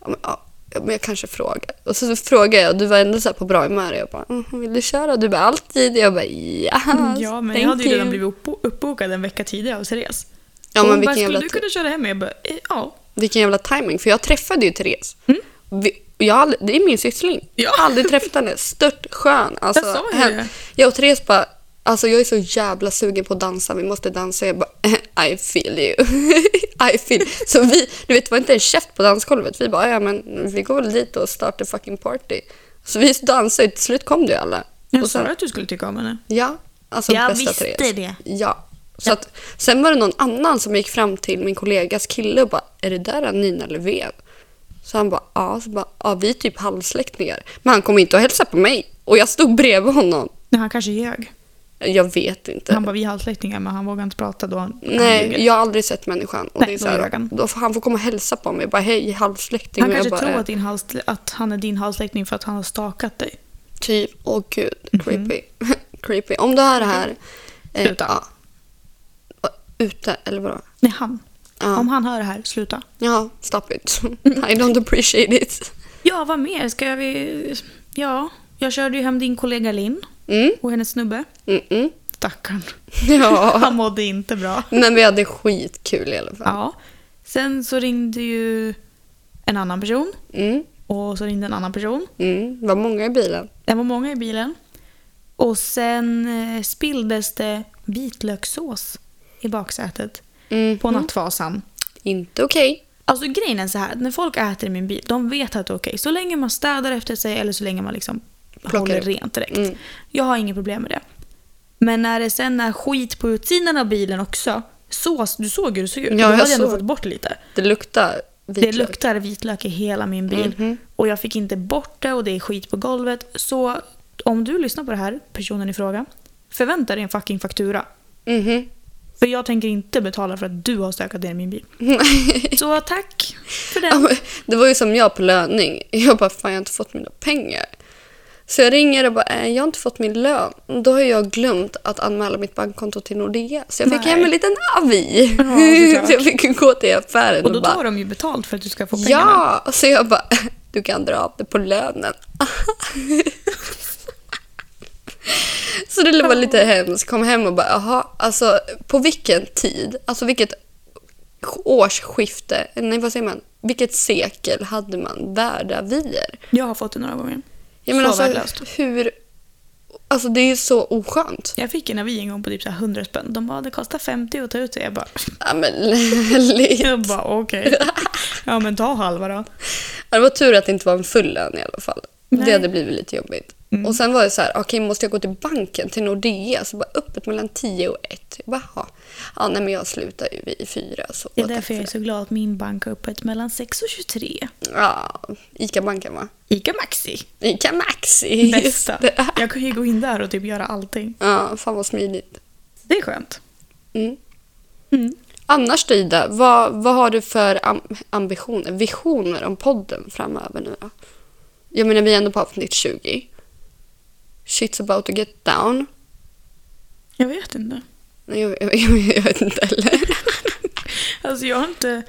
ja, men, ja, men jag kanske frågar. Och så frågade jag och du var ändå så här på bra humör och jag bara, "Mhm, vill du köra? Du bara, alltid. Jag bara, ja.
Mm, Ja, men
thank
jag hade ju
you."
redan blivit uppbo- uppbokad en vecka tidigare av Therese.
Ja, men
hon bara,
vilken
skulle
jävla
du kunna köra hem? Jag bara, eh, ja.
Vilken jävla timing för jag träffade ju Therese. Vi, och jag har aldrig, det är min syssling.
Mm. Ja.
Jag har aldrig träffat henne. Stört skön. Alltså,
Jag sa ju
hen-
det.
jag och Therese bara, alltså jag är så jävla sugen på att dansa, vi måste dansa. Jag bara, [LAUGHS] I feel you. I feel. Så vi, du vet, det var inte en käft på dansgolvet. Vi bara, ja men vi går väl dit och startar fucking party. Så vi dansade och till slut kom det ju alla.
Jag
Och
sa
sen-
att du skulle tycka om henne.
Ja, alltså
Jag
bästa
visste
Therese.
det.
Ja. Så att, sen var det någon annan som gick fram till min kollegas kille och bara “Är det där Nina Löfven?” Så han bara “Ja”, så bara, ja vi är typ halvsläktingar. Men han kom inte och hälsade på mig och jag stod bredvid honom.
Nej, han kanske ljög.
Jag vet inte.
Han bara, vi är halvsläktingar, men han vågar inte prata då han han ljuger.
Nej, jag har aldrig sett människan. Och
Nej,
det är så
då
här,
ljög han.
då får han får komma och hälsa på mig. Bara “Hej, halvsläkting”.
Han
och jag
kanske
bara,
tror
"Eh,
att, din hals, att han är din halsläkting för att han har stakat dig.
Typ, åh gud,
Mhm.
creepy. [LAUGHS] creepy. Om du är här... eh,
Sluta.
ja. Ute, eller vadå?
Nej, han.
Ja.
Om han hör det här, sluta.
Ja, stop it. [LAUGHS] I don't appreciate it.
Ja, vad mer? Ska vi... Ja, jag körde ju hem din kollega Linn
Mm,
och hennes snubbe.
mm, mm. [LAUGHS]
Stackarn.
Ja.
Han mådde inte bra.
Men vi hade skitkul i alla fall.
Ja. Sen så ringde ju en annan person
Mm,
och så ringde en annan person.
mm. Det var många i bilen.
Det var många i bilen. Och sen eh, spilldes det vitlökssås i baksätet
Mm.
på nattfasan.
Inte okej.
Alltså grejen är så här, när folk äter i min bil, de vet att det är okej. Så länge man städar efter sig eller så länge man liksom
Plockar
håller
upp.
rent direkt.
Mm.
Jag har inget problem med det. Men när det sen är skit på utsidan av bilen också, sås, du såg hur det såg ut.
Ja,
du
jag
hade ändå
såg.
fått bort lite.
Det luktar vitlök. Mhm,
Det luktar vitlök i hela min bil. Och jag fick inte bort det och det är skit på golvet. Så om du lyssnar på det här, personen i fråga, förvänta dig en fucking faktura.
Mhm. [LAUGHS]
För jag tänker inte betala för att du har stökat ner min bil. Så tack för
Ja,
den.
men Det var ju som jag på löning. Jag bara, fan jag har inte fått mina pengar. Så jag ringer och bara, "Eh, jag har inte fått min lön. Då har jag glömt att anmäla mitt bankkonto till Nordea. Så jag fick
Nej.
hem en liten avi. [LAUGHS]
såklart.
så jag fick ju gå till affären
Och då
bara,
tar de ju betalt för att du ska få pengarna.
Ja, så jag bara, [LAUGHS] du kan dra av det på lönen. [LAUGHS] så det var lite hemskt. Kom hem och bara, jaha, alltså på vilken tid, alltså vilket årsskifte, eh, nej vad säger man, vilket sekel hade man värdavier?
Jag har fått det några gånger.
Jag menar alltså
Så värdelöst.
hur, alltså det är ju så oskönt.
Jag fick en avi en gång på typ så här 100 spänn. De bara, det kostar 50 att ta ut det. Jag bara, [LAUGHS]
Ja men [LAUGHS] lite.
jag bara okej. Ja men ta halva då.
Ja, Det var tur att det inte var en full lön i alla fall. Det
Nej. Mm.
hade blivit lite jobbigt. Och sen var det så här, okej måste jag gå till banken, till Nordea? Så bara öppet mellan 10 och 1. Jag bara, "Jaha. ja, nej men jag slutar ju vid 4. Så
Det är
tack
därför jag är
för
så glad att min bank har öppet mellan 6 och 23.
det." Ja, ICA-banken va?
Ica Maxi.
ICA Maxi!
Bästa.
[LAUGHS] Just det.
Jag kan ju gå in där och typ göra allting.
Ja, fan vad smidigt.
Det är skönt.
Mm.
Mm.
Annars då Ida, vad, vad har du för am- ambitioner, visioner om podden framöver nu då? Jag menar vi är ändå på avsnitt 20. Shit's about to get down.
Jag vet inte.
Nej, Jag, jag, jag, jag vet inte
[LAUGHS]
heller.
Alltså jag har inte...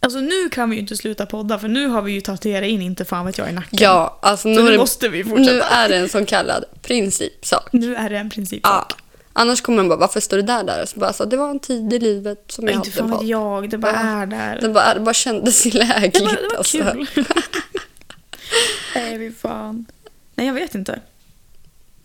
Alltså nu kan vi ju inte sluta podda för nu har vi ju tatuerat in inte fan vet jag i nacken.
Ja, alltså nu,
Så
är
nu
det-
måste vi
nu
fortsätta.
är det en så kallad principsak.
Nu, är det en princip.
Ja. Annars kommer man bara, varför står det där där? Så bara, så, det var en tid i livet som jag
inte fan
hade
vet
valt.
jag, det bara
Ja.
är där.
Det bara, det bara kändes lägligt.
Det var, det var
alltså.
kul.
[LAUGHS]
Nej, fy fan. Nej, jag vet inte.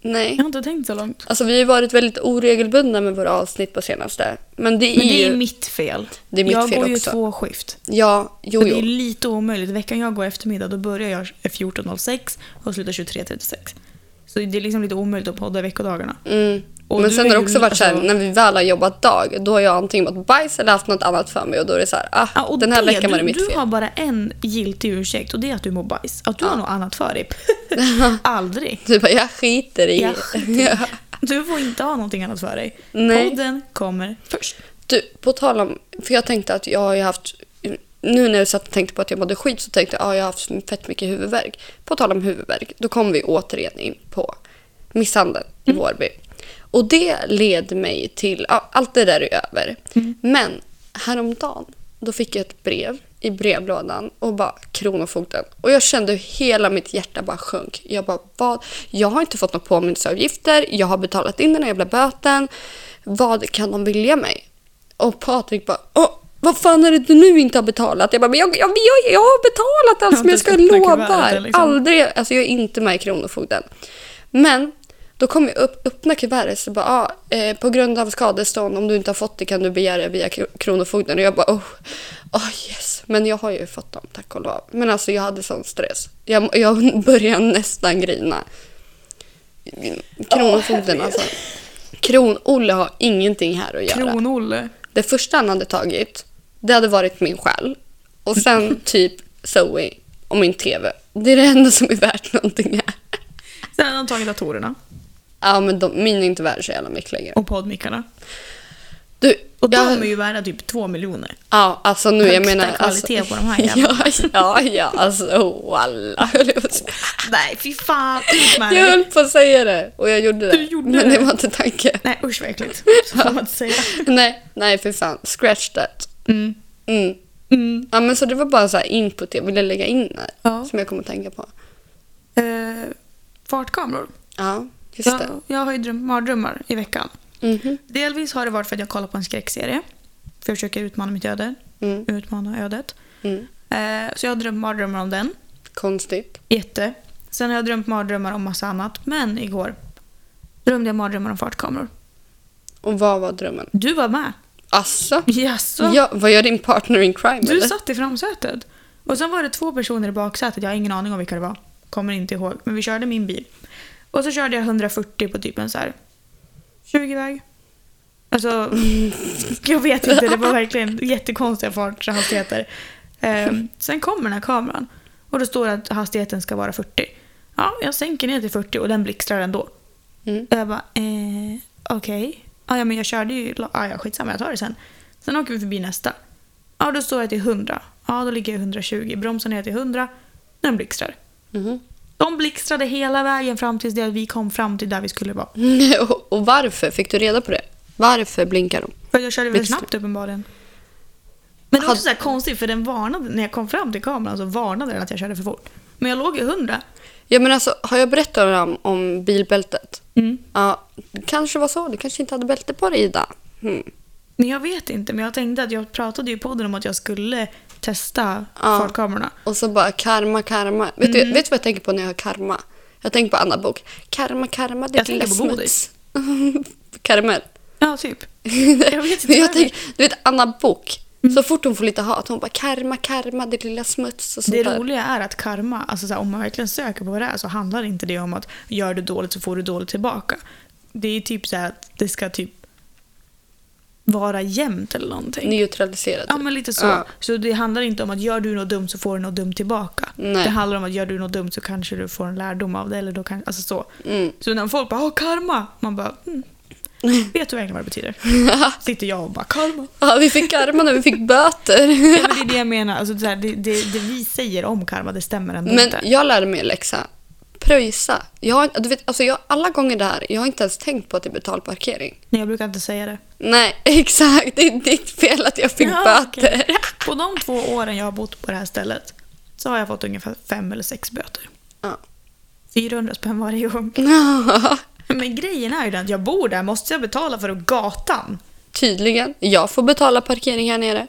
Nej.
Jag har inte tänkt så långt.
Alltså vi har ju varit väldigt oregelbundna med våra avsnitt på senaste. Men det är,
Men det är
ju...
ju mitt fel.
Det är mitt
jag
fel
går ju
också.
två skift.
Ja, jo
Så det är
jo.
lite omöjligt. Veckan jag går eftermiddag då börjar jag 14.06 och slutar 23.36. Så det är liksom lite omöjligt att podda i veckodagarna.
Mm.
Och
Men
du
sen har det
är ju-
också varit så här,
alltså-
när vi väl har jobbat dag, då har jag antingen mått bajs eller haft något annat för mig och då är det så här, ah,
Ja, och
den här
det,
veckan var det
du,
mitt
Du
fel.
har bara en giltig ursäkt och det är att du mår bajs. Att du har något annat
[LAUGHS]
för dig. Aldrig.
Du bara, jag skiter i
Jag
[LAUGHS] Ja.
Du får inte ha någonting annat för dig.
Nej.
Podden kommer först.
Du, på tal om, för jag tänkte att jag har ju haft, nu när jag satt och tänkte på att jag mådde skit så tänkte jag att ah, jag har haft fett mycket huvudvärk. På tal om huvudvärk, då kom vi återigen in på misshandeln i Vårby. Och det led mig till, ja, allt det där är över. Men häromdagen, då fick jag ett brev i brevlådan och bara Kronofogden. Och jag kände hur hela mitt hjärta bara sjönk. Jag bara, vad? Jag har inte fått några påminnelseavgifter, jag har betalat in den här jävla böten. Vad kan de vilja mig? Och Patrik bara, Åh, vad fan är det du nu inte har betalat? Jag bara, men jag, jag, jag, jag har betalat allt
har
som jag
inte
ska
öppnat
lova.
kuvertet, liksom.
Aldrig, alltså jag är inte med i Kronofogden. Men då kom jag upp, öppna kuvertet så bara, ah, eh, på grund av skadestånd, om du inte har fått det kan du begära via Kro- Kronofogden. Och jag bara, oh, oh yes. Men jag har ju fått dem, tack och lov. Men alltså jag hade sån stress. Jag, jag [LAUGHS] började nästan grina. Kronofogden alltså. Kron-Olle har ingenting här att göra.
Kronolle.
Det första han hade tagit, det hade varit min själ. Och
[LAUGHS]
sen typ Zoe och min TV. Det är det enda som är värt någonting här.
Sen har de tagit datorerna
Ja, men de, min är inte värd så jävla mycket längre.
och poddmickarna.
Du,
Och de
jag,
är ju värda typ två miljoner.
Ja, alltså nu, jag
Högsta
menar...
kvalitet
alltså,
på de här
[LAUGHS] ja, ja, ja, alltså oh,
[LAUGHS]
alla höll jag på att säga.
Nej, fy fan.
[LAUGHS]
Ut med
Jag höll
dig.
på att säga det och jag gjorde det.
Du gjorde
men det
det.
var inte
[LAUGHS]
tanken.
Nej, usch vad äckligt. Så får man inte säga.
Nej, nej för fan. Scratch that.
Mm.
Mm.
Mm.
Ja, men så det var bara så här input jag ville lägga in här.
Ja.
Som jag kommer att tänka på.
Eh, fartkameror.
Ja, just det.
Jag, jag har ju drömt mardrömmar i veckan.
Mhm.
Delvis har det varit för att jag kollar på en skräckserie. För jag försöker utmana mitt öde.
Mm.
Utmana ödet.
Mm.
Eh, så jag har drömt mardrömmar om den.
Konstigt.
Jätte. Sen har jag drömt mardrömmar om massa annat. Men igår drömde jag mardrömmar om fartkameror.
Och vad var drömmen?
Du var med.
Asså?
Jaså?
Ja, vad gör din partner in crime
Du
eller?
satt i framsätet. Och sen var det två personer i baksätet. Jag har ingen aning om vilka det var. Kommer inte ihåg. Men vi körde min bil. Och så körde jag 140 på typ en så här 20-väg. Alltså, [LAUGHS] jag vet inte. Det var verkligen jättekonstiga farthastigheter. Ehm, sen kommer den här kameran. Och då står det att hastigheten ska vara 40. Ja, jag sänker ner till 40 och den blixtrar ändå.
Mm.
Och jag bara, eh, okej. Ah, ja, men jag körde ju... Ah, ja, skitsamma, jag tar det sen. Sen åker vi förbi nästa. Ja, då står jag till 100. Ja, då ligger jag i 120. Bromsen är till 100. Den blixtrar.
Mhm.
De blixtrade hela vägen fram tills det att vi kom fram till där vi skulle vara.
[LAUGHS] och, och varför? Fick du reda på det? Varför blinkar de?
För jag körde väl
Blixtrar.
snabbt uppenbarligen. Men det var
Hade-
också så här konstigt för den varnade, när jag kom fram till kameran så varnade den att jag körde för fort. Men jag låg i 100.
Ja men alltså, har jag berättat om, om bilbältet?
Mm.
Ja, det kanske var så. Du kanske inte hade bälte på dig Ida? Mm.
Men jag vet inte, men jag tänkte att jag pratade ju i podden om att jag skulle testa
Ja.
fartkamerorna.
Och så bara karma, karma. Vet, du,
Mm.
vet du vad jag tänker på när jag hör karma? Jag tänker på Anna Bok. Karma, karma, ditt
Jag
lilla
tänker på
smuts. [LAUGHS] Karamell.
Ja, typ.
[LAUGHS]
Jag vet inte
Men jag
Mm. vad det är.
tänker, du vet Anna Bok. Så fort hon får lite hat, hon bara karma, karma, ditt lilla smuts och sånt
Det
där.
roliga är att karma, alltså så här, om man verkligen söker på vad det är så handlar inte det om att gör du dåligt så får du dåligt tillbaka. Det är typ så här att det ska typ vara jämnt eller någonting.
Neutraliserat.
Ja men lite så.
Ja.
Så det handlar inte om att gör du något dumt så får du något dumt tillbaka.
Nej.
Det handlar om att gör du något dumt så kanske du får en lärdom av det. Eller då kan, alltså så.
Mm.
så när folk bara “Åh, karma”, man bara
[LAUGHS]
mm. “Vet du verkligen vad det betyder?” Sitter jag och bara “Karma”.
Ja, vi fick karma när vi fick böter.
Ja, men det är det [LAUGHS] jag menar. Alltså, det, här, det, det, det vi säger om karma, det stämmer ändå
Men
inte.
jag lärde mig en läxa. Pröjsa. Jag, har- du vet, alltså jag, alla gånger det här, jag har inte ens tänkt på att det är betald parkering.
Nej, jag brukar inte säga det.
Nej, [LAUGHS] exakt. Det är ditt fel att jag fick
Ja,
böter.
okej. På de två åren jag har bott på det här stället så har jag fått ungefär fem eller sex böter.
Ja.
400 spänn varje gång. Men grejen är ju den att jag bor där, måste jag betala för gatan?
[LAUGHS] Tydligen. Jag får betala parkering här nere.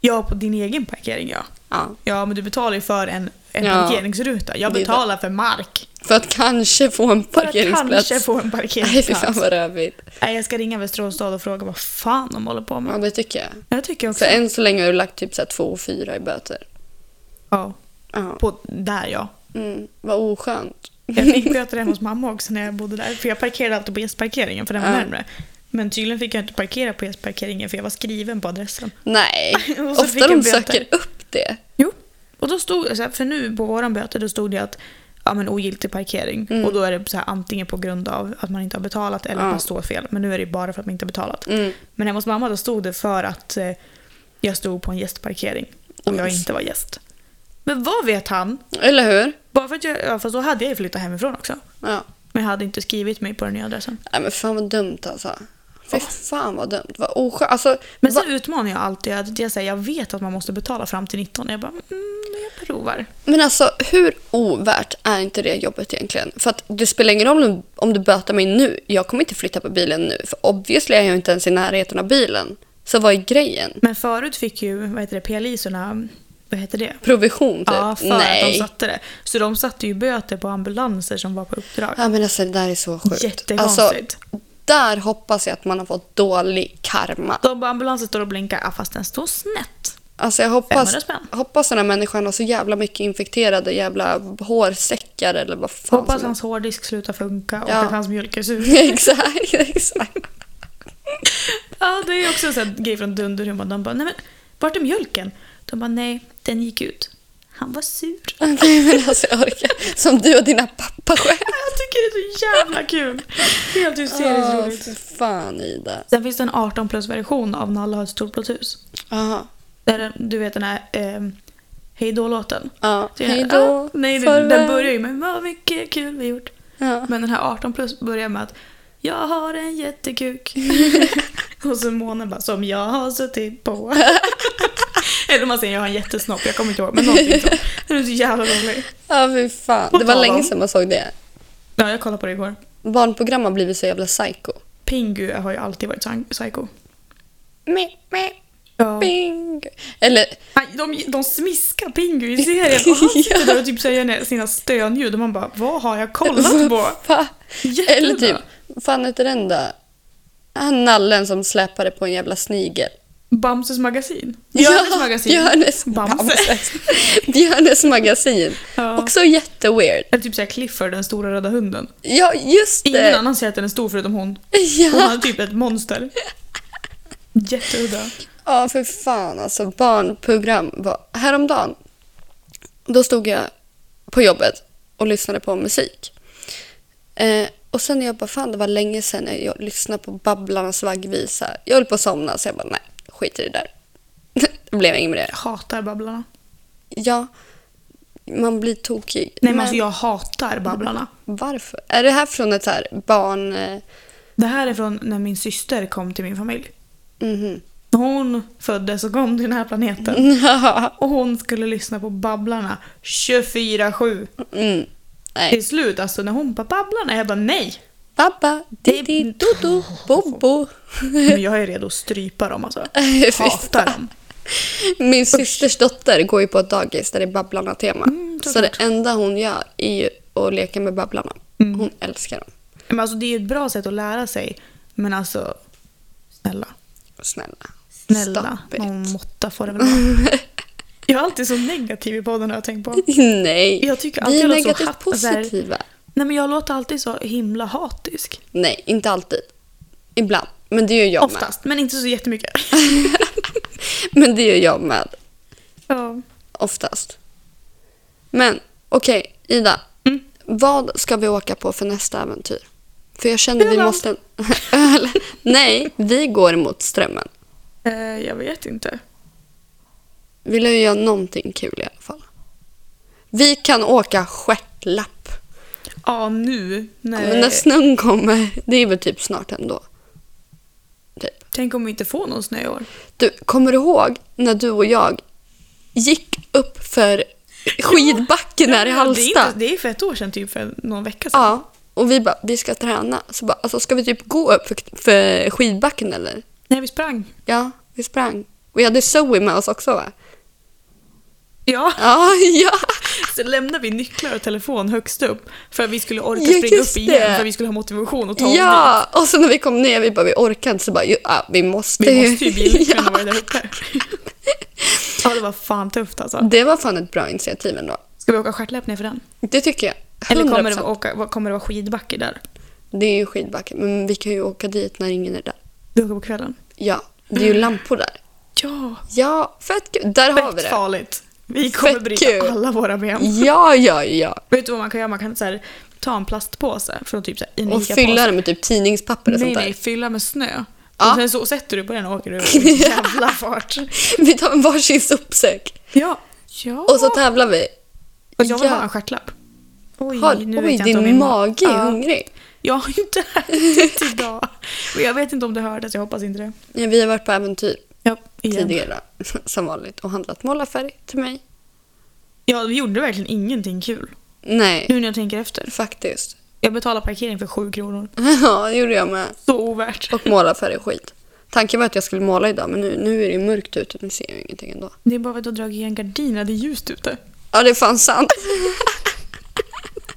Ja, på din egen parkering ja.
Ja.
Ja, men du betalar ju för en, en
Ja.
parkeringsruta. Jag
Det är
betalar för mark.
För att kanske få en
För att
parkeringsplats.
kanske få en
Nej, fy
parkeringsplats.
fan vad rövigt.
Nej, jag ska ringa Västerås stad och fråga vad fan de håller på med.
Ja, det tycker jag.
Jag tycker också...
Så än så länge har du lagt typ så här 2 och 4 i böter.
Ja,
Ja.
på, där ja.
Mm, vad oskönt.
Jag fick böter hemma hos mamma också när jag bodde där. För jag parkerade alltid på gästparkeringen för den var
Ja.
närmare. Men tydligen fick jag inte parkera på gästparkeringen för jag var skriven på adressen.
[LAUGHS] Nej,
[LAUGHS] Och så fick
ofta de
jag böter.
söker upp det.
Jo. Och då stod så här, för nu på våran böter, då stod det att ja, men ogiltig parkering. Och då är det så här, antingen på grund av att man inte har betalat eller att
Mm. Ja.
man står fel. Men nu är det ju bara för att man inte har betalat.
Mm.
Men hemma hos mamma då stod det för att eh, jag stod på en gästparkering och jag
men-
inte var gäst. Men vad vet han?
Eller hur?
Bara för att jag, ja, fast då hade jag ju flyttat hemifrån också.
Ja.
Men jag hade inte skrivit mig på den nya adressen.
Nej men fan vad dumt alltså. Fy fan vad dumt. Vad oskönt. Alltså,
Men
va-
sen utmanar jag alltid att jag säger jag vet att man måste betala fram till 19. Jag bara, mm, jag provar.
Men alltså hur ovärt är inte det jobbet egentligen? För att det spelar ingen roll om- om du böter mig nu. Jag kommer inte flytta på bilen nu. För obviously är jag inte ens i närheten av bilen. Så vad är grejen?
Men förut fick ju, vad heter det, PLIsorna, vad heter det?
Provision typ?
Ja, för att de
Nej.
satte det. Så de satte ju böter på ambulanser som var på uppdrag.
Ja men alltså det där är så sjukt. Alltså,
Jättekonstigt.
där hoppas jag att man har fått dålig karma.
De bara, ambulansen står och blinkar, ah, fast den står snett.
Alltså jag
500
hoppas,
spänn.
hoppas den här människan har så jävla mycket infekterade jävla hårsäckar eller vad fan
Hoppas
som-
hans hårddisk slutar funka och
Ja.
att hans mjölk
[LAUGHS]
är sur.
Exakt, exakt.
Ja, det är också en sån här grej från Dunderhumor. De bara, nej men, vart är mjölken? De bara, nej, den gick ut. Han var sur. [LAUGHS]
Nej men alltså jag orkar. Som du och dina pappaskämt.
Jag tycker det är så jävla kul.
Ah,
Helt hysteriskt
Åh,
roligt.
för fan Ida.
Sen finns det en 18 plus-version av När alla har ett stort hus.
Aha.
Där, den- du vet den här eh, Hej då-låten.
Ja.
Så jag-
Hej
ah,
då.
Nej, den,
farväl.
den börjar ju med vad mycket kul vi gjort.
Ja.
Men den här 18 plus börjar med att jag har
[LAUGHS]
en jättekuk. och så månen bara som jag har
[LAUGHS]
suttit på. Eller man säger jag har en jättesnopp, jag kommer inte ihåg. Men
[LAUGHS]
någonting sånt. Den är så jävla rolig.
Ja fy fan.
På
Det var
tal om-
länge sedan man såg det.
Ja, jag kollade på det igår.
Barnprogram har blivit så jävla psycho.
Pingu har ju alltid varit psy- psycho.
Meh, meh,
Ja.
bing. Eller
Nej, De, de smiskar Pingu i serien
[LAUGHS]
och han sitter där och typ säger ner sina stönljud och man bara vad har jag kollat på?
Va?
Jättebra.
[LAUGHS] Eller typ, vad fan heter den då? Han nallen som släpade på en jävla snigel.
Bamses magasin. Björnes magasin.
Björnes,
Bamse.
Bamse. [LAUGHS] Björnes magasin.
[LAUGHS] Ja.
Också jätteweird.
Eller typ såhär Clifford, den stora röda hunden.
Ja, just
Ingen
det.
annan säger att den är stor förutom hon. Hon
Ja.
hade typ ett monster. Jätteudda.
ja, för fan alltså. Barnprogram var... Häromdagen, då stod jag på jobbet och lyssnade på musik. Eh, och sen jag bara, fan det var länge sedan jag lyssnade på Babblarnas vaggvisa. Jag höll på att somna så jag bara, nej, skit i det där. [LAUGHS] det blev inget med det.
Jag hatar Babblarna.
Ja, man blir tokig.
Nej men
Men
alltså jag hatar Babblarna.
Varför? Är det här från ett så här barn... eh,
Det här är från när min syster kom till min familj.
mhm. [LAUGHS]
När hon föddes och kom till den här planeten. Ah, Och hon skulle lyssna på Babblarna 24-7.
mm. Nej.
Till slut alltså när hon bara Babblarna, jag
[LAUGHS]
bara nej.
Babba, Didi, Dodo, Bobo.
Men jag är redo att strypa
[LAUGHS]
dem alltså.
Fy
Hatar dem.
Min systers dotter går ju på ett dagis där det är Babblarna-tema. så det
Mm, såklart.
enda hon gör är ju att leka med Babblarna.
Mm.
Hon älskar dem.
Men alltså det är ju ett bra sätt att lära sig. Men alltså, snälla.
Snälla.
Snälla,
Stop it.
någon måtta får det väl vara.
[LAUGHS]
Jag är alltid så negativ i podden har jag tänkt på.
Nej.
Jag tycker
Vi
alltid
är
jag låter så
negativt
hat- så här-
positiva.
Nej men jag låter alltid så himla hatisk.
Nej, inte alltid. Ibland. Men det gör jag med.
Oftast, men inte så jättemycket.
[LAUGHS]
[LAUGHS]
Men det gör jag med.
Ja.
Oftast. Men okej, Ida.
Mm.
Vad ska vi åka på för nästa äventyr? För jag känner vi
Öland.
måste... [LAUGHS] Öl. Nej, vi går mot strömmen.
Eh, jag vet inte.
Vi lär ju göra någonting kul i alla fall. Vi kan åka stjärtlapp.
Ja, nu.
Men
Nej.
när snön kommer, det är väl typ snart ändå. Typ.
Tänk om vi inte får någon snö i år.
Du, kommer du ihåg när du och jag gick upp för skidbacken här i Halmstad?
Det är, inte, det är för ett år sedan, typ för någon vecka sedan.
Ja, och vi bara, vi ska träna. Så bara, alltså ska vi typ gå upp för, för skidbacken eller?
Nej, vi sprang.
Ja, vi sprang. Vi hade Zoe med oss också va?
Ja, [LAUGHS]
Ja, [LAUGHS] ja!
så lämnade vi nycklar och telefon högst upp för att vi skulle orka
Ja,
springa upp
just det.
igen för att vi skulle ha motivation att ta oss dit.
Ja! Och så när vi kom ner, vi bara, vi orkar inte. Så bara, ju, ja, vi måste [LAUGHS]
Vi måste ju bli lyckliga när
ja.
vi varit där uppe. ja, det var fan tufft alltså.
Det var fan ett bra initiativ ändå.
Ska vi åka stjärtläpp ner för den?
Det tycker jag.
Eller kommer det,
100%.
vara, åka, vad- kommer det vara skidbacke där?
Det är ju skidbacke, men vi kan ju åka dit när ingen är där.
Du åker på kvällen?
Ja, det är
Mm.
ju lampor där.
Ja,
Ja, fett kul. Där har vi
fett
det.
farligt. Vi kommer
Fett
bryta
kul.
alla våra ben.
Ja, ja,
[LAUGHS]
ja.
Vet du vad man kan göra? Man kan så här, ta en plastpåse från typ så här, en
Och
Ica-påse.
fylla det med typ tidningspapper och
Nej,
sånt där.
nej, fylla med snö.
Ja.
Och sen så sätter du på den och åker du i jävla fart.
[LAUGHS] Vi tar en varsin sopsäck
Ja. ja.
och så tävlar vi.
Och jag vill
Ja.
ha en stjärtlapp. Oj,
Har,
nu
oj,
vet jag inte om
din
min
mage är
Ja.
hungrig.
Jag har inte ätit idag. Och jag vet inte om det hördes, jag hoppas inte det.
Ja, vi har varit på äventyr
Ja, igen.
tidigare [LAUGHS] som vanligt och handlat målarfärg till mig.
Ja, vi gjorde verkligen ingenting kul.
Nej,
Nu när jag tänker efter.
faktiskt. [LAUGHS]
Jag betalade parkering för sju kronor.
Ja, det gjorde jag med.
Så ovärt.
Och målarfärg är skit. Tanken var att jag skulle måla idag men nu, nu är det ju mörkt ute nu ser jag ju ingenting ändå.
Det är bara för att du har dragit igen gardinerna, det är ljust ute.
Ja, det är fan sant. [LAUGHS]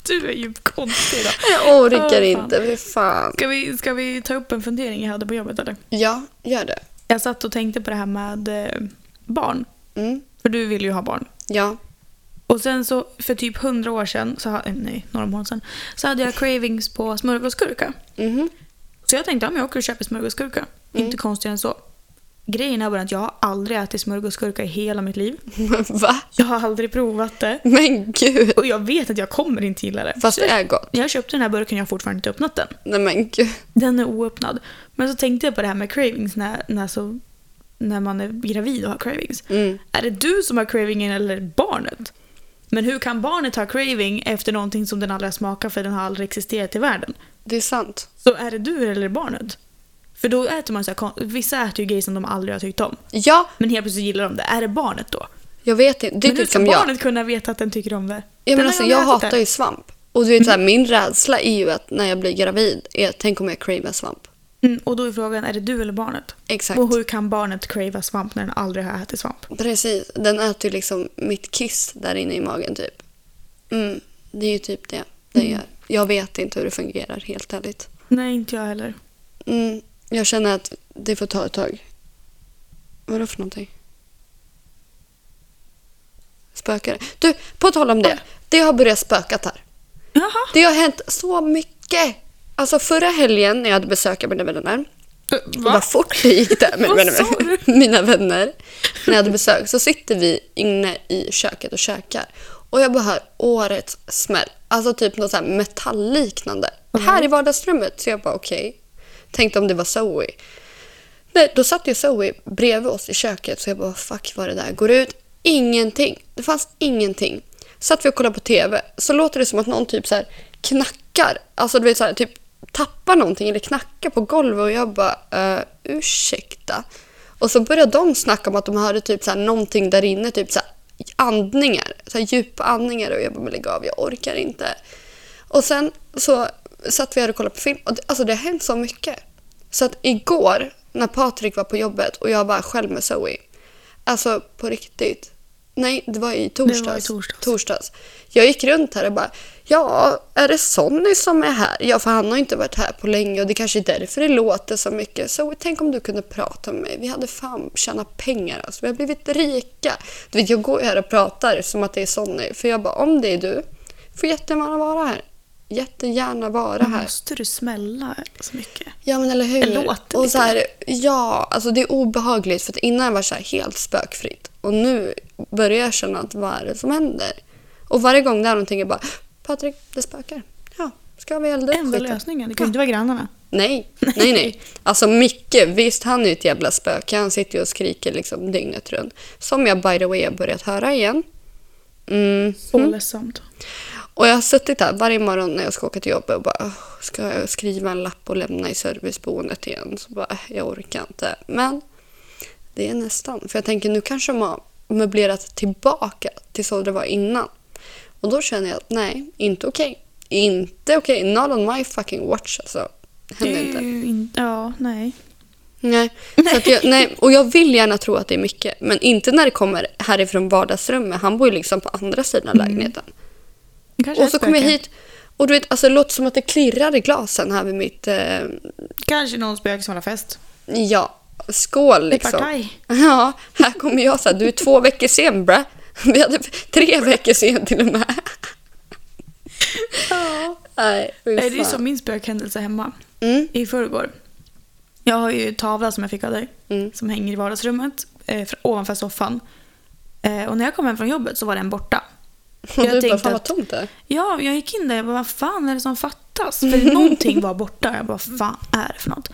Du är ju konstig idag.
Jag orkar
Åh, fan.
inte, fy fan.
Ska vi, ska vi ta upp en fundering jag hade på jobbet eller?
Ja, gör det.
Jag satt och tänkte på det här med eh, barn.
Mm.
För du vill ju ha barn.
Ja.
Och sen så för typ hundra år sedan, så, ha- eh, nej några månader sedan, så hade jag cravings på smörgåsgurka.
Mhm. [LAUGHS]
Så jag tänkte att jag åker och köper smörgåsgurka. Inte konstigare än så. Grejen är bara att jag har aldrig ätit smörgåsgurka i hela mitt liv.
Va?
Jag har aldrig provat det.
Men gud.
Och jag vet att jag kommer inte gilla det.
Fast
Så
det är gott.
jag köpte den här burken jag har fortfarande inte öppnat den.
Nej men gud.
Den är oöppnad. Men så tänkte jag på det här med cravings när, när, så, när man är gravid och har cravings.
Mm.
Är det du som har cravingen eller barnet? Men hur kan barnet ha craving efter någonting som den aldrig har smakat för den har aldrig existerat i världen?
Det är sant.
Så är det du eller barnet? För då äter man så här, kon- vissa äter ju grejer som de aldrig har tyckt om.
Ja,
Men helt plötsligt gillar de det. Är det barnet då?
jag vet inte. Det är
men hur
typ
ska
som jag.
barnet kunna veta att den tycker om det?
Ja,
Den Mm.
men
har
alltså,
aldrig
jag
ätit
hatar
det.
ju svamp. Och du vet, så här, min rädsla är ju att när jag blir gravid, är, tänk om jag cravar svamp.
Mm, och då är frågan, är det du eller barnet?
Exakt.
Och hur kan barnet crava svamp när den aldrig har ätit svamp?
Precis. Den äter ju liksom mitt kiss där inne i magen typ. Mm. Det är ju typ det den gör. Jag vet inte hur det fungerar helt ärligt.
Nej, inte jag heller.
Mm. Jag känner att det får ta ett tag. Vadå för någonting? Spökar det? Du, på tal om det. Det har börjat spökat här.
Jaha.
Det har hänt så mycket. Alltså förra helgen när jag hade besök av mina vänner. Äh, Vad fort det gick där med
Vad
mina,
sa du?
[LAUGHS] mina vänner. När jag hade besök så sitter vi inne i köket och käkar. Och jag bara hör årets smäll. Alltså typ något så här metallliknande. Här i vardagsrummet. Så jag bara okej. Tänkte om det var Zoe. Nej, då satt ju Zoe bredvid oss i köket så jag bara fuck vad är det där? Går ut? Ingenting. Det fanns ingenting. Satt vi och kollade på TV så låter det som att någon typ så här knackar. Alltså du vet så här, typ tappar någonting eller knackar på golvet och jag bara uh, ursäkta. Och så började de snacka om att de hörde typ så här någonting där inne, typ så här andningar, så här djupa andningar och jag bara men lägg av, jag orkar inte. Och sen så satt vi här och kollade på film och det, alltså det har hänt så mycket. Så att igår när Patrik var på jobbet och jag var själv med Zoe, alltså på riktigt. Nej, det var i torsdags.
torsdags.
torsdags. Jag gick runt här och bara, ja, är det Sonny som är här? Ja, för han har ju inte varit här på länge och det kanske är därför det låter så mycket. Zoe, tänk om du kunde prata med mig. Vi hade fan tjänat pengar alltså. Vi har blivit rika. Du vet, jag går ju här och pratar som att det är Sonny. För jag bara, om det är du, får jättegärna vara här. Jättegärna vara här.
Måste du smälla så mycket?
Ja men eller hur?
Det låter
och
lite.
så här, ja, alltså det är obehagligt för att innan var det så här helt spökfritt och nu börjar jag känna att vad är det som händer? Och varje gång det är någonting jag bara Patrik, det spökar. Ja, ska vi elda upp
Enda
skiten?
lösningen, det kan ju inte vara grannarna.
Nej, nej, nej. Alltså Micke, visst han är ju ett jävla spöke. Han sitter ju och skriker liksom dygnet runt. Som jag by the way har börjat höra igen. Mm.
Så ledsamt.
Och jag har suttit här varje morgon när jag ska åka till jobbet och bara "Åh, ska jag skriva en lapp och lämna i serviceboendet igen? Så bara, "Äh, jag orkar inte. Men det är nästan. För jag tänker nu kanske de har möblerat tillbaka till så det var innan. Och då känner jag att nej, inte okej. Inte okej. Not on my fucking watch alltså.
Det
Händer
är
inte.
ju inte... Ja, nej.
Nej. Så att jag, nej. Och jag vill gärna tro att det är mycket. Men inte när det kommer härifrån vardagsrummet. Han bor ju liksom på andra sidan lägenheten.
Det kanske är
Och
ett
så kommer jag
spöke.
hit och du vet, alltså, det låter som att det klirrar i glasen här vid mitt, eh,
Kanske någon spöke som har fest.
ja, skål liksom.
partaj.
[LAUGHS] Ja, här kommer jag så här, du är
[LAUGHS]
två veckor sen brä. Vi hade tre veckor sen till och med. Nej, fy
Eh, Det är
fan.
som min spökhändelse hemma
Mm,
i förrgår. Jag har ju tavla som jag fick av dig
mm.
som hänger i vardagsrummet eh, fr- ovanför soffan. Eh, och när jag kom hem från jobbet så var den borta.
Och du bara,
tänkte
fan vad
att-
tomt det är."
Ja, jag gick in där jag bara, vad fan är det som fattas? För någonting var borta. Jag bara, vad fan är det för något?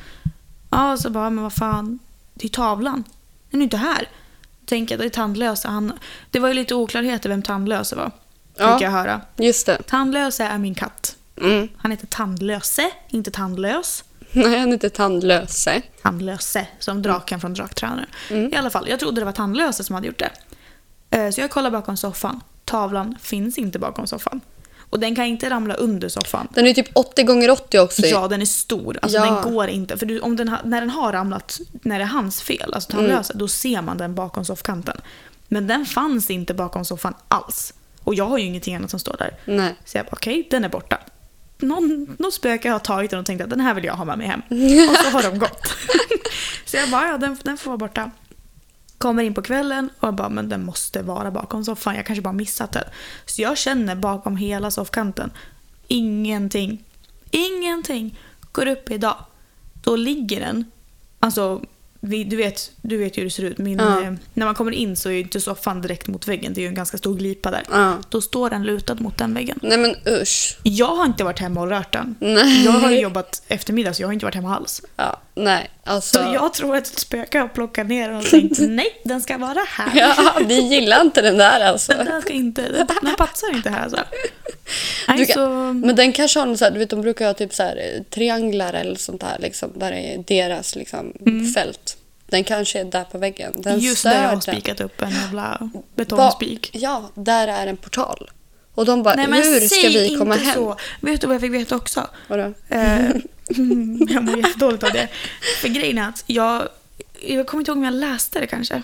Ja, och så bara, men vad fan, det är tavlan. Den är ju inte här. Tänker jag, det är tandlösa. Han, det var ju lite oklarheter vem tandlöse var.
Ja.
Fick jag höra.
Just det.
Tandlöse är min katt.
Mm.
Han heter Tandlöse, inte Tandlös.
Nej, han är inte tandlöse.
Tandlöse, som draken från Draktränaren. I alla fall, jag trodde det var Tandlöse som hade gjort det. Eh, Så jag kollar bakom soffan. Tavlan finns inte bakom soffan. Och den kan inte ramla under soffan.
Den är ju typ 80 gånger 80 också.
Ja, den är stor. Alltså,
Ja.
Den går inte. För du, om den, ha- när den har ramlat, när det är hans fel, alltså
Mm.
tandlösa, då ser man den bakom soffkanten. Men den fanns inte bakom soffan alls. Och jag har ju ingenting annat som står där.
Nej.
Så jag bara, okej, den är borta. Någon, någon spöke har tagit den och tänkt att den här vill jag ha med mig hem. Och så har
[LAUGHS]
de gått. så jag bara, ja den, den får vara borta. Kommer in på kvällen och jag bara, men den måste vara bakom soffan. Jag kanske bara missat den. Så jag känner bakom hela soffkanten. Ingenting. Ingenting. Går upp idag. Då ligger den. Alltså, vi, du, vet, du vet ju hur det ser ut. Min,
Ja.
eh, När man kommer in så är ju inte soffan direkt mot väggen. Det är ju en ganska stor glipa där.
Ja.
Då står den lutad mot den väggen.
Nej men usch.
Jag har inte varit hemma och rört den.
Nej.
Jag har ju jobbat eftermiddag så jag har inte varit hemma alls.
Ja, nej, alltså.
Så jag tror att ett spöke har plockat ner den och tänkt nej, den ska vara här.
[LAUGHS] Ja, vi gillar inte den där alltså.
Den där ska inte, den, den passar inte här. Så.
[LAUGHS] Du
Nej,
kan-
så,
Men den kanske har någon så här, du vet de brukar ha typ så här eh, trianglar eller sånt där liksom, där är deras liksom fält. Den kanske är där på väggen. Den
Mm. just
stör
där jag har
den.
spikat upp en jävla
Ba-
betongspik.
Ja, där är en portal. Och de bara,
Nej men
hur ska
säg
vi komma
inte
hem?
så. Vet du vad jag fick veta också?
Vadå?
Eh, mm, jag mår jättedåligt av det. För grejen är att jag, jag kommer inte ihåg om jag läste det kanske.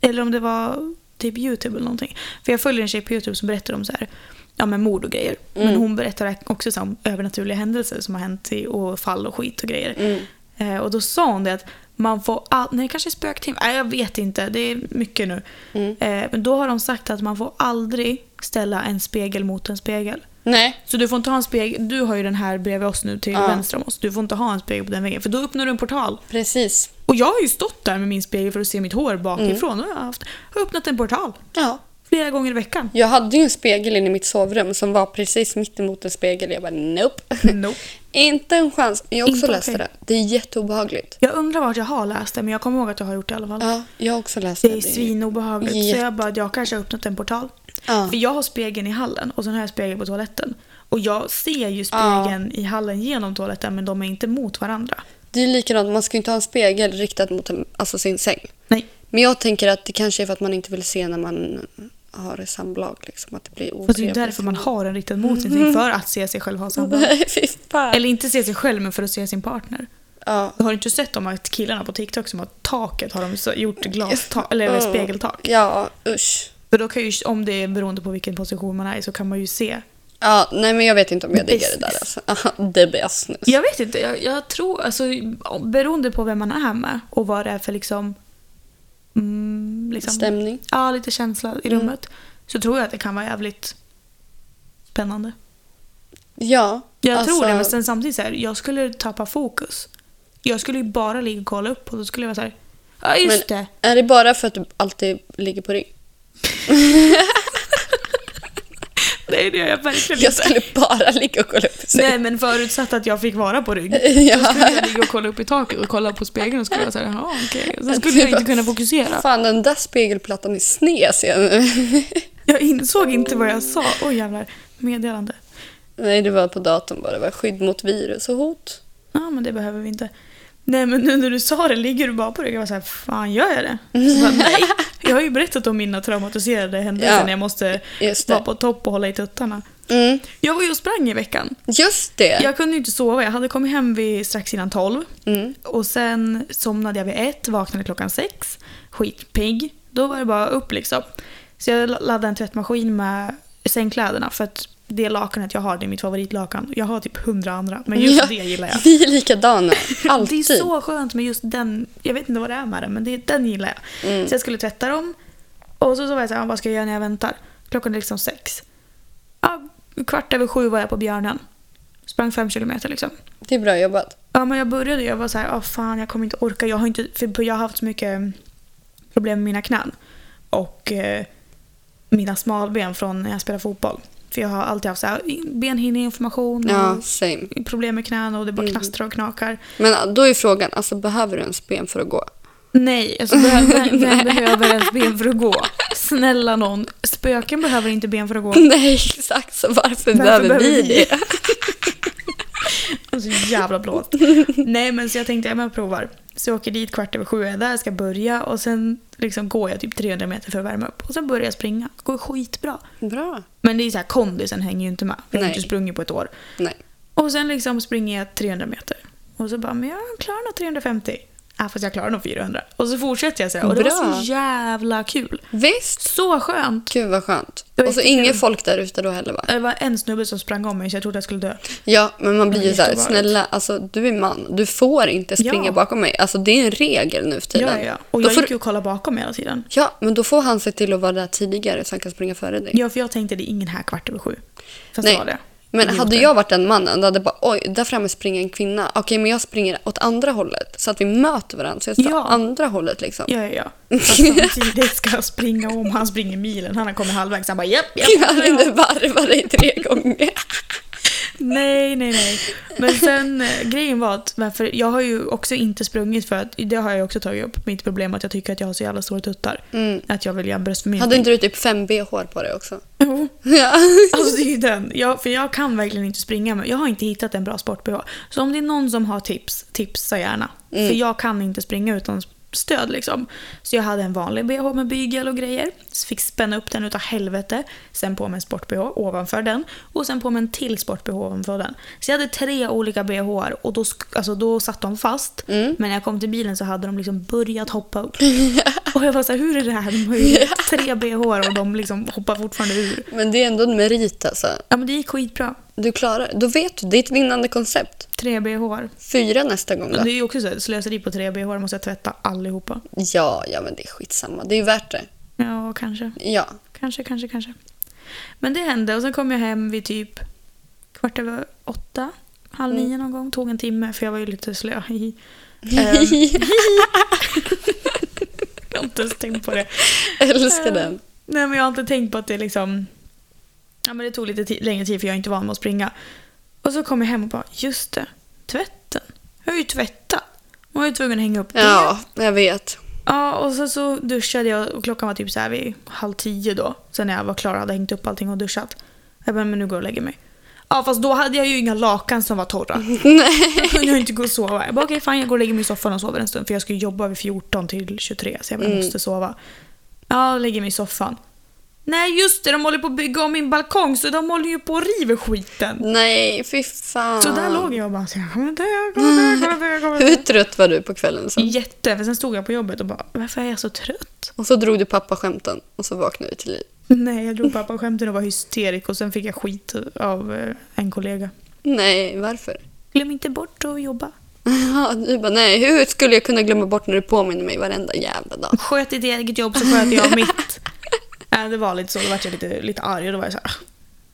Eller om det var typ YouTube eller någonting. För jag följer en tjej på YouTube som berättar om så här, ja, men mord och grejer. Men hon berättar också så här om övernaturliga händelser som har hänt i, och fall och skit och grejer. Eh, och då sa hon det att man får all, nej, det kanske är spöktim, nej jag vet inte, det är mycket nu. Eh, men då har de sagt att man får aldrig ställa en spegel mot en spegel.
Nej.
Så du får inte ha en spegel, du har ju den här bredvid oss nu till
Ja.
vänster om oss. Du får inte ha en spegel på den väggen för då öppnar du en portal.
Precis.
Och jag har ju stått där med min spegel för att se mitt hår bakifrån
Mm.
och jag har, haft, har öppnat en portal
Ja.
flera gånger i veckan.
Jag hade ju en spegel inne i mitt sovrum som var precis mitt emot en spegel. Jag bara nope.
Nope.
[LAUGHS] Inte en chans. Jag också
Inte
läste
okej.
det. Det är jätteobehagligt.
Jag undrar vart jag har läst det men jag kommer ihåg att jag har gjort det i alla fall.
Ja, jag har också läst det.
Det är svinobehagligt.
Jätte-
Så jag bara, jag kanske har öppnat en portal.
Ja.
För jag har spegeln i hallen och sen har jag spegeln på toaletten. Och jag ser ju
Ja.
spegeln i hallen genom toaletten men de är inte mot varandra.
Det är likadant, man ska ju inte ha en spegel riktad mot en, alltså sin säng.
Nej.
Men jag tänker att det kanske är för att man inte vill se när man har samlag. Liksom, att det blir
Fast det är
otrevligt. Mm.
ju
[LAUGHS]
därför man har den riktad mot sin säng, för att se sig själv ha samlag.
Fy fan.
Eller inte se sig själv, men för att se sin partner.
Ja.
Har du inte sett de här killarna på TikTok som har taket, har de så gjort glastak, eller
Mm.
spegeltak?
Ja, usch.
För då kan ju, om det är beroende på vilken position man är i, så kan man ju se.
Ja, nej men jag vet inte om jag diggar det där
Business.
alltså. [LAUGHS] The business.
Jag vet inte, jag, jag tror, alltså om- beroende på vem man är med och vad det är för liksom... Mm, liksom
Stämning.
ja, lite känsla i rummet. Så tror jag att det kan vara jävligt spännande.
Ja.
Jag
alltså,
tror det, men sen samtidigt så här, jag skulle tappa fokus. Jag skulle ju bara ligga och kolla upp och då skulle jag vara så här, ja just
men
det.
Är det bara för att du alltid ligger på rygg?
Nej det gör jag verkligen
Jag
inte.
skulle bara [LAUGHS] ligga och kolla upp i sängen.
Nej men förutsatt att jag fick vara på [LAUGHS] rygg. Då
[LAUGHS] Ja.
skulle jag ligga och kolla upp i taket och kolla på spegeln och skulle vara såhär, jaha okej. Sen skulle jag typ- inte kunna fokusera.
Fan, den där spegelplattan är sned ser jag nu.
Jag insåg inte vad jag sa. Oj jävlar. Meddelande.
Nej, det var på datorn bara. Det var skydd mot virus och hot.
Ja men det behöver vi inte. Nej men nu när du sa det, ligger du bara på rygg? Jag var såhär, fan gör jag det? Jag, bara, Nej. jag har ju berättat om mina traumatiserade händelser
Ja.
när jag måste
Just
vara
det.
på topp och hålla i tuttarna.
Mm.
Jag var ju och sprang i veckan.
Just det!
Jag kunde ju inte sova. Jag hade kommit hem vid strax innan tolv.
Mm.
Och sen somnade jag vid ett, vaknade klockan sex. Skitpigg. Då var det bara upp liksom. Så jag laddade en tvättmaskin med sängkläderna. För att det lakanet jag har, det är mitt favoritlakan. Jag har typ hundra andra, men just
Ja.
det gillar
[LAUGHS]
jag.
Vi är likadana. Alltid.
[LAUGHS] Det är så skönt med just den, jag vet inte vad det är med den, men det, den gillar jag.
Mm.
Så jag skulle tvätta dem. Och så, så var jag såhär, ah, vad ska jag göra när jag väntar? Klockan är liksom sex. Ja, kvart över sju var jag på Björnen. Sprang fem kilometer liksom.
Det är bra jobbat.
Ja, men jag började jag var så här, "Åh, fan jag kommer inte orka. Jag har, inte, för jag har haft så mycket problem med mina knän och eh, mina smalben från när jag spelar fotboll. För jag har alltid haft så här, benhinneinflammation
Ja, Mm. same.
och problem med knän och det bara knastrar och knakar.
Men då är frågan, alltså behöver du ens ben för att gå?
Nej, alltså vem, vem, vem behöver ens ben för att gå? Snälla någon, spöken behöver inte ben för att gå.
[LAUGHS] Nej, exakt. Så varför, behöver, vi det?
Och så
[LAUGHS]
jävla blåst. Nej men så jag tänkte, ja, men jag provar. Så jag åker dit kvart över sju, jag är där, ska börja och sen liksom går jag typ 300 meter för att värma upp. Och sen börjar jag springa. Det går skitbra.
[LAUGHS] Bra.
Men det är ju så här, kondisen hänger ju inte med. Jag har
Nej.
inte sprungit på ett år.
Nej.
Och sen liksom springer jag 300 meter. Och så bara, men jag klarar nog 350. Ja, fast jag klarar nog 400. Och så fortsätter jag så här. Och det var
Bra.
så jävla kul.
Visst.
Så skönt.
Gud vad skönt.
Det var
Och så
jättekul.
inget folk där ute då heller va?
Det var en snubbe som sprang om mig så jag trodde jag skulle dö.
Ja, men man blir ju
Ja,
såhär,
jättevarmt.
snälla, alltså du är man. Du får inte springa
Ja.
bakom mig. Alltså det är en regel nu för tiden.
Ja, ja. Och
då
jag
får...
gick ju och kollade bakom mig hela tiden.
ja, men då får han se till att vara där tidigare så han kan springa före dig.
Ja, för jag tänkte det är ingen här kvart över sju. Fast det var det.
Men
Idioter.
hade jag varit den mannen, då hade jag bara oj, där framme springer en kvinna. Okej, men jag springer åt andra hållet så att vi möter varandra. Så jag står
Ja.
andra hållet liksom.
Ja, ja, ja. Fast samtidigt ska jag springa om. Han springer milen. Han har kommit halvvägs. Han bara japp, japp.
[LAUGHS] Jag hade inte varvat dig tre gånger.
Nej, nej, nej. Men sen eh, grejen var att varför, jag har ju också inte sprungit för att det har jag också tagit upp. Mitt problem är att jag tycker att jag har så jävla stora tuttar. Att jag vill göra en
Mm. Hade
bröstförminskning.
inte du typ 5 bh på dig också? [LAUGHS]
Jo.
Ja.
[LAUGHS] Alltså det är ju den. Jag, för jag kan verkligen inte springa. Men jag har inte hittat en bra sport-bh. Så om det är någon som har tips, tipsa gärna. För jag kan inte springa utan stöd liksom. Så jag hade en vanlig bh med bygel och grejer. Så fick spänna upp den utav helvete. Sen på mig en sport-bh ovanför den. Och sen på mig en till sport-bh ovanför den. Så jag hade tre olika bhar och då, sk- alltså, då satt de fast. Men när jag kom till bilen så hade de liksom börjat hoppa upp. och jag var så här, hur är det här möjligt? Tre bhar och de liksom hoppar fortfarande ur.
Men det är ändå en merit alltså.
Ja men det gick skitbra.
Du klarar Då vet du, det är ett vinnande koncept.
Tre bh.
Fyra nästa gång
Det
då.
är ju också så här, slöseri på tre bh, måste jag tvätta allihopa.
Ja, ja men det är skitsamma. Det är ju värt det.
Ja, kanske.
Ja.
Kanske, kanske, kanske. Men det hände och sen kom jag hem vid typ kvart över åtta, halv
Mm.
nio någon gång. Tog en timme för jag var ju lite slö. [LAUGHS] Ehm,
[LAUGHS]
jag har inte ens tänkt på det. Eh,
Älskar den.
Nej men jag har inte tänkt på att det liksom... Ja men det tog lite ti- längre tid för jag är inte van med att springa. Och så kom jag hem och bara, just det, tvätten. Jag har ju tvättat. Man var ju tvungen att hänga upp det.
Ja, jag vet.
Ja, och sen så duschade jag och klockan var typ så här vid halv tio då. Sen när jag var klar hade jag hängt upp allting och duschat. Jag bara, men nu går jag och lägger mig. Ja, fast då hade jag ju inga lakan som var torra. Då kunde jag inte gå och sova. Jag bara, okej fan jag går och lägger mig i soffan och sover en stund. För jag ska ju jobba vid 14 till 23, så jag bara, jag måste sova. Ja, jag lägger mig i soffan. Nej just det, de håller på att bygga om min balkong så de håller ju på och river skiten.
Nej, fy fan.
Så där låg jag och bara, så jag kommer dö, jag kommer dö, jag kommer dö, jag kommer dö.
Hur trött var du på kvällen sen?
Jätte, för sen stod jag på jobbet och bara, varför är jag så trött?
Och så drog du pappa skämten och så vaknade du till liv.
[LAUGHS] Nej, jag drog pappa skämten och var hysterisk och sen fick jag skit av eh, en kollega.
Nej, varför? [LAUGHS]
Glöm inte bort att jobba.
Ja, du bara nej, hur skulle jag kunna glömma bort när du påminner mig varenda jävla dag?
Sköt ditt eget jobb så sköter jag [LAUGHS] mitt. äh, det var lite så, då var jag lite, lite arg och då var jag så här. "Ah."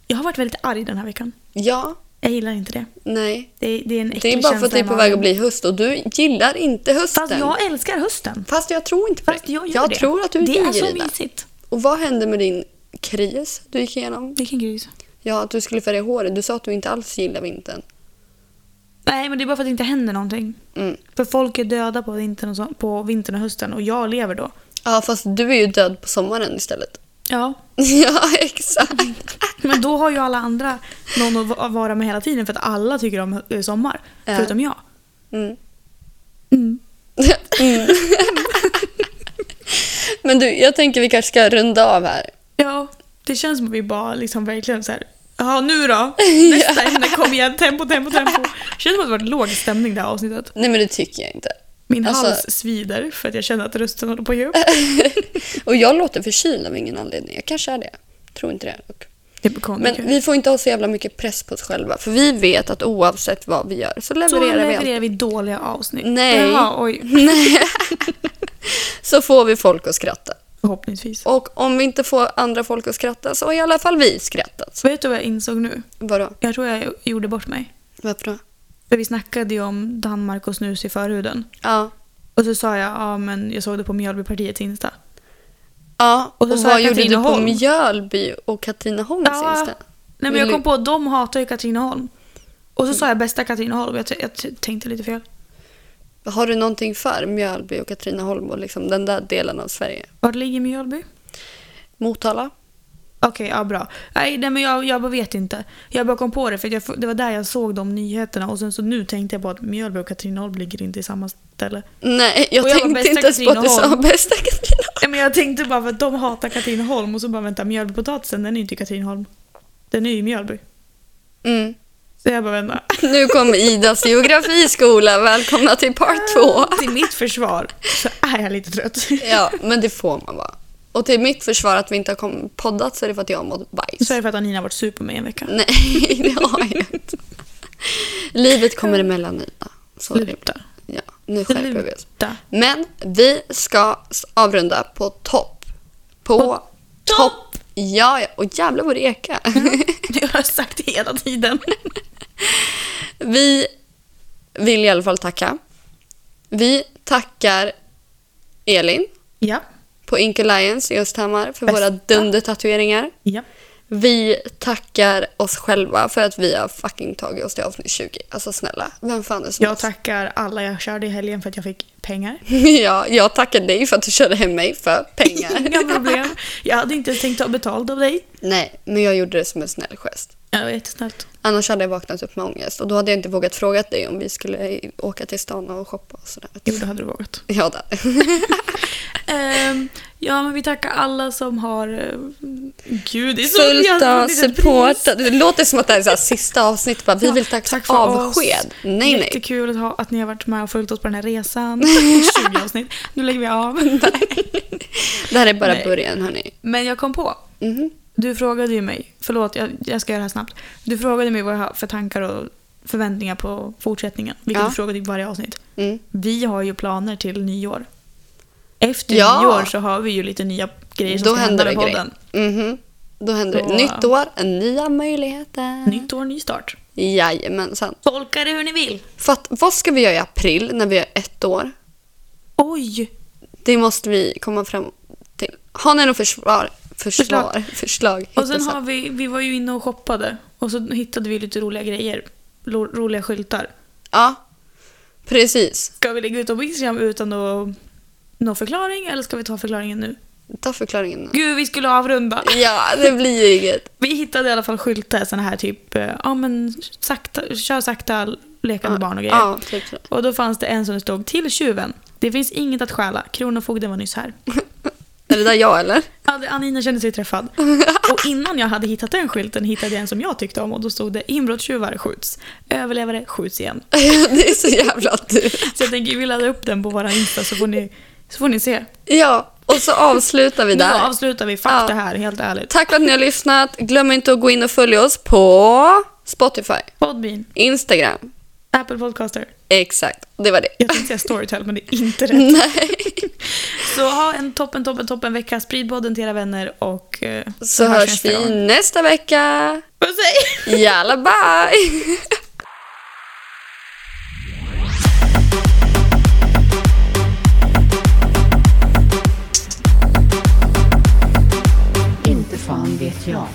Jag har varit väldigt arg den här veckan.
Ja,
Jag gillar inte det.
nej.
Det, är- det är en äcklig
Det är bara för
känsla
att det är på
i magen.
väg att bli höst och du gillar inte hösten.
Fast jag älskar hösten.
Fast jag tror inte på
Fast
det.
jag gör det.
tror att du
Det är
ligger
så
i det.
mysigt.
Och vad hände med din kris du gick igenom?
Vilken gris.
Ja, att du skulle färga håret. Du sa att du inte alls gillar vintern.
Nej, men det är bara för att det inte händer någonting.
Mm.
För folk är döda på vintern och, så, på vintern och hösten och jag lever då.
Ja, fast du är ju död på sommaren istället. [LAUGHS]
Ja,
ja, exakt.
Men då har ju alla andra någon att va- vara med hela tiden för att alla tycker om eh, sommar.
Ja.
Förutom jag.
Mm.
Mm.
Mm. Men du, jag tänker vi kanske ska runda av här.
Ja, det känns som att vi bara liksom verkligen så här. Ja, nu
[LAUGHS]
då? Nästa ämne, kom igen. Tempo, tempo, tempo. Känns som att det varit låg stämning det här avsnittet.
Nej, men det tycker jag inte.
Min
Alltså-
hals svider för att jag känner att rösten håller
[LAUGHS]
på att ge upp.
Och jag låter förkyld av ingen anledning. Jag kanske är det. Tror inte det dock.
Det är
Men
men
vi får inte ha så jävla mycket press på oss själva. För vi vet att oavsett vad vi gör så
Så
levererar vi alltid.
levererar vi dåliga avsnitt.
Nej.
Jaha, oj.
Så får vi folk att skratta.
Förhoppningsvis.
Och om vi inte får andra folk att skratta så har i alla fall vi skrattat.
Vet du vad jag insåg nu?
Vadå?
Jag tror jag gjorde bort mig.
Varför då?
För vi snackade ju om Danmark och snus i förhuden.
Ja.
Och så sa jag, ja men jag såg det på Mjölbypartiets Insta.
Ja, och,
Och så sa
vad
jag
gjorde du på
Katrineholm.
Mjölby och Katrineholms
Ja.
Insta?
Nej men jag
Vill- Mm.
kom på att de hatar ju Katrineholm. Och så sa jag bästa Katrineholm, jag, t- jag t- tänkte lite fel.
Har du någonting för Mjölby och Katrineholm och liksom den där delen av Sverige?
Var ligger Mjölby?
Motala?
Okej, ja bra. Nej, nej men jag, jag bara vet inte. Jag bara kom på det för att jag, f- det var där jag såg de nyheterna och sen så nu tänkte jag på att Mjölby och Katrineholm ligger inte i samma ställe.
Nej, jag
Och jag var
tänkte
bästa
inte ens på att du sa
Katrineholm.
bästa Katrineholm.
Nej men jag tänkte bara för att de hatar Katrineholm och så bara vänta, Mjölbypotatisen den är ju inte i Katrineholm. Den är ju i Mjölby.
Mm.
Så jag bara vänta.
Nu kom Idas geografiskola. Välkomna till part två.
[LAUGHS] Till mitt försvar så är jag lite trött.
Ja, men det får man vara. Och till mitt försvar att vi inte har kom- poddat så är det för att jag har mått bajs.
Så är det för att Anina har varit sur på mig en vecka.
Nej, det har jag inte. Livet kommer emellan Ida. Så är det.
Sluta.
Ja, nu skärper vi oss.
Sluta. [LAUGHS]
Men vi ska s- avrunda på topp. På,
På
topp!
topp!
Ja, ja. Och jävlar vad det ekar.
Det har jag sagt
[LAUGHS]
hela tiden.
Vi vill i alla fall tacka. Vi tackar Elin
Ja.
på Ink Alliance i Östhammar för
Bästa.
våra dundertatueringar.
Ja.
Vi tackar oss själva för att vi har fucking tagit oss till avsnitt 20. Alltså snälla, vem fan är snäll?
Jag tackar alla jag körde i helgen för att jag fick pengar.
[LAUGHS] ja, jag tackar dig för att du körde hem mig för pengar.
[LAUGHS] Inga problem. Jag hade inte ens tänkt ta betalt av dig.
Nej, men jag gjorde det som en snäll gest.
Ja, det var jättesnällt.
Annars hade jag vaknat upp med ångest och då hade jag inte vågat fråga dig om vi skulle i- åka till stan och shoppa och sådär.
Jo, det hade du vågat.
Ja, där.
Ehm, ja, men vi tackar alla som har... Uh, gud, det är så... jag
Fullt av
har fått ett litet
support.
pris.
Det låter som att det här är så här sista avsnittet. Bara, vi
Ja,
vill tacka
tack för
avsked.
oss.
Nej, nej.
Jättekul att, ha, att ni har varit med och följt oss på den
[LAUGHS]
här resan. 20 avsnitt. Nu lägger vi av.
Det här är bara
Nej.
början, hörni.
Men jag kom på.
Mhm.
Du frågade ju mig, förlåt jag, jag ska göra det här snabbt. Du frågade mig vad jag har för tankar och förväntningar på fortsättningen. Vilket
Ja.
du frågade i varje avsnitt.
Mm.
Vi har ju planer till nyår. Efter
Ja.
nyår så har vi ju lite nya grejer som
Då
ska
händer
hända
det
med
grejer.
podden.
Mhm. Då händer det.
Så-
Nytt år, nya möjligheter.
Nytt år, ny start.
Jajamensan.
Mm. Tolka det hur ni vill.
För att, vad ska vi göra i april när vi är ett år?
Oj!
Det måste vi komma fram till. Har ni något försvar? Försvar? Förslag?
Och sen
Hittills.
har vi, vi var ju inne och shoppade och så hittade vi lite roliga grejer. Lo, roliga skyltar.
Ja, precis.
Ska vi lägga ut dem på Instagram utan nå- någon förklaring eller ska vi ta förklaringen nu?
Ta förklaringen nu.
Gud, vi skulle avrunda!
Ja, det blir ju inget.
Vi hittade i alla fall skyltar, såna här typ, eh, ja men sakta, kör sakta, lekande barn och grejer.
Ja, typ så.
Och då fanns det en som det stod till tjuven. Det finns inget att stjäla, Kronofogden var nyss här.
Är det där jag eller?
Ja, det- Anina kände
[LAUGHS]
sig träffad. Och innan jag hade hittat den skylten hittade jag en som jag tyckte om och då stod det inbrottstjuvar skjuts, överlevare skjuts igen.
[LAUGHS] det är så jävla du.
Så jag tänker vi laddar upp den på våran Insta så får ni, så får ni se.
Ja, och så avslutar vi
Nu
där.
avslutar vi, fuck
Ja.
det här helt ärligt.
Tack för att ni har lyssnat. Glöm inte att gå in och följa oss på Spotify,
Podbean,
Instagram.
Apple Podcaster.
Exakt, det var det.
Jag tänkte säga Storytel men det är inte
[LAUGHS]
rätt.
Nej,
Så ha en toppen, toppen, toppen vecka. Sprid podden till era vänner och eh,
så hörs vi nästa vecka.
Puss hej!
Jalla bye!
Inte fan vet jag.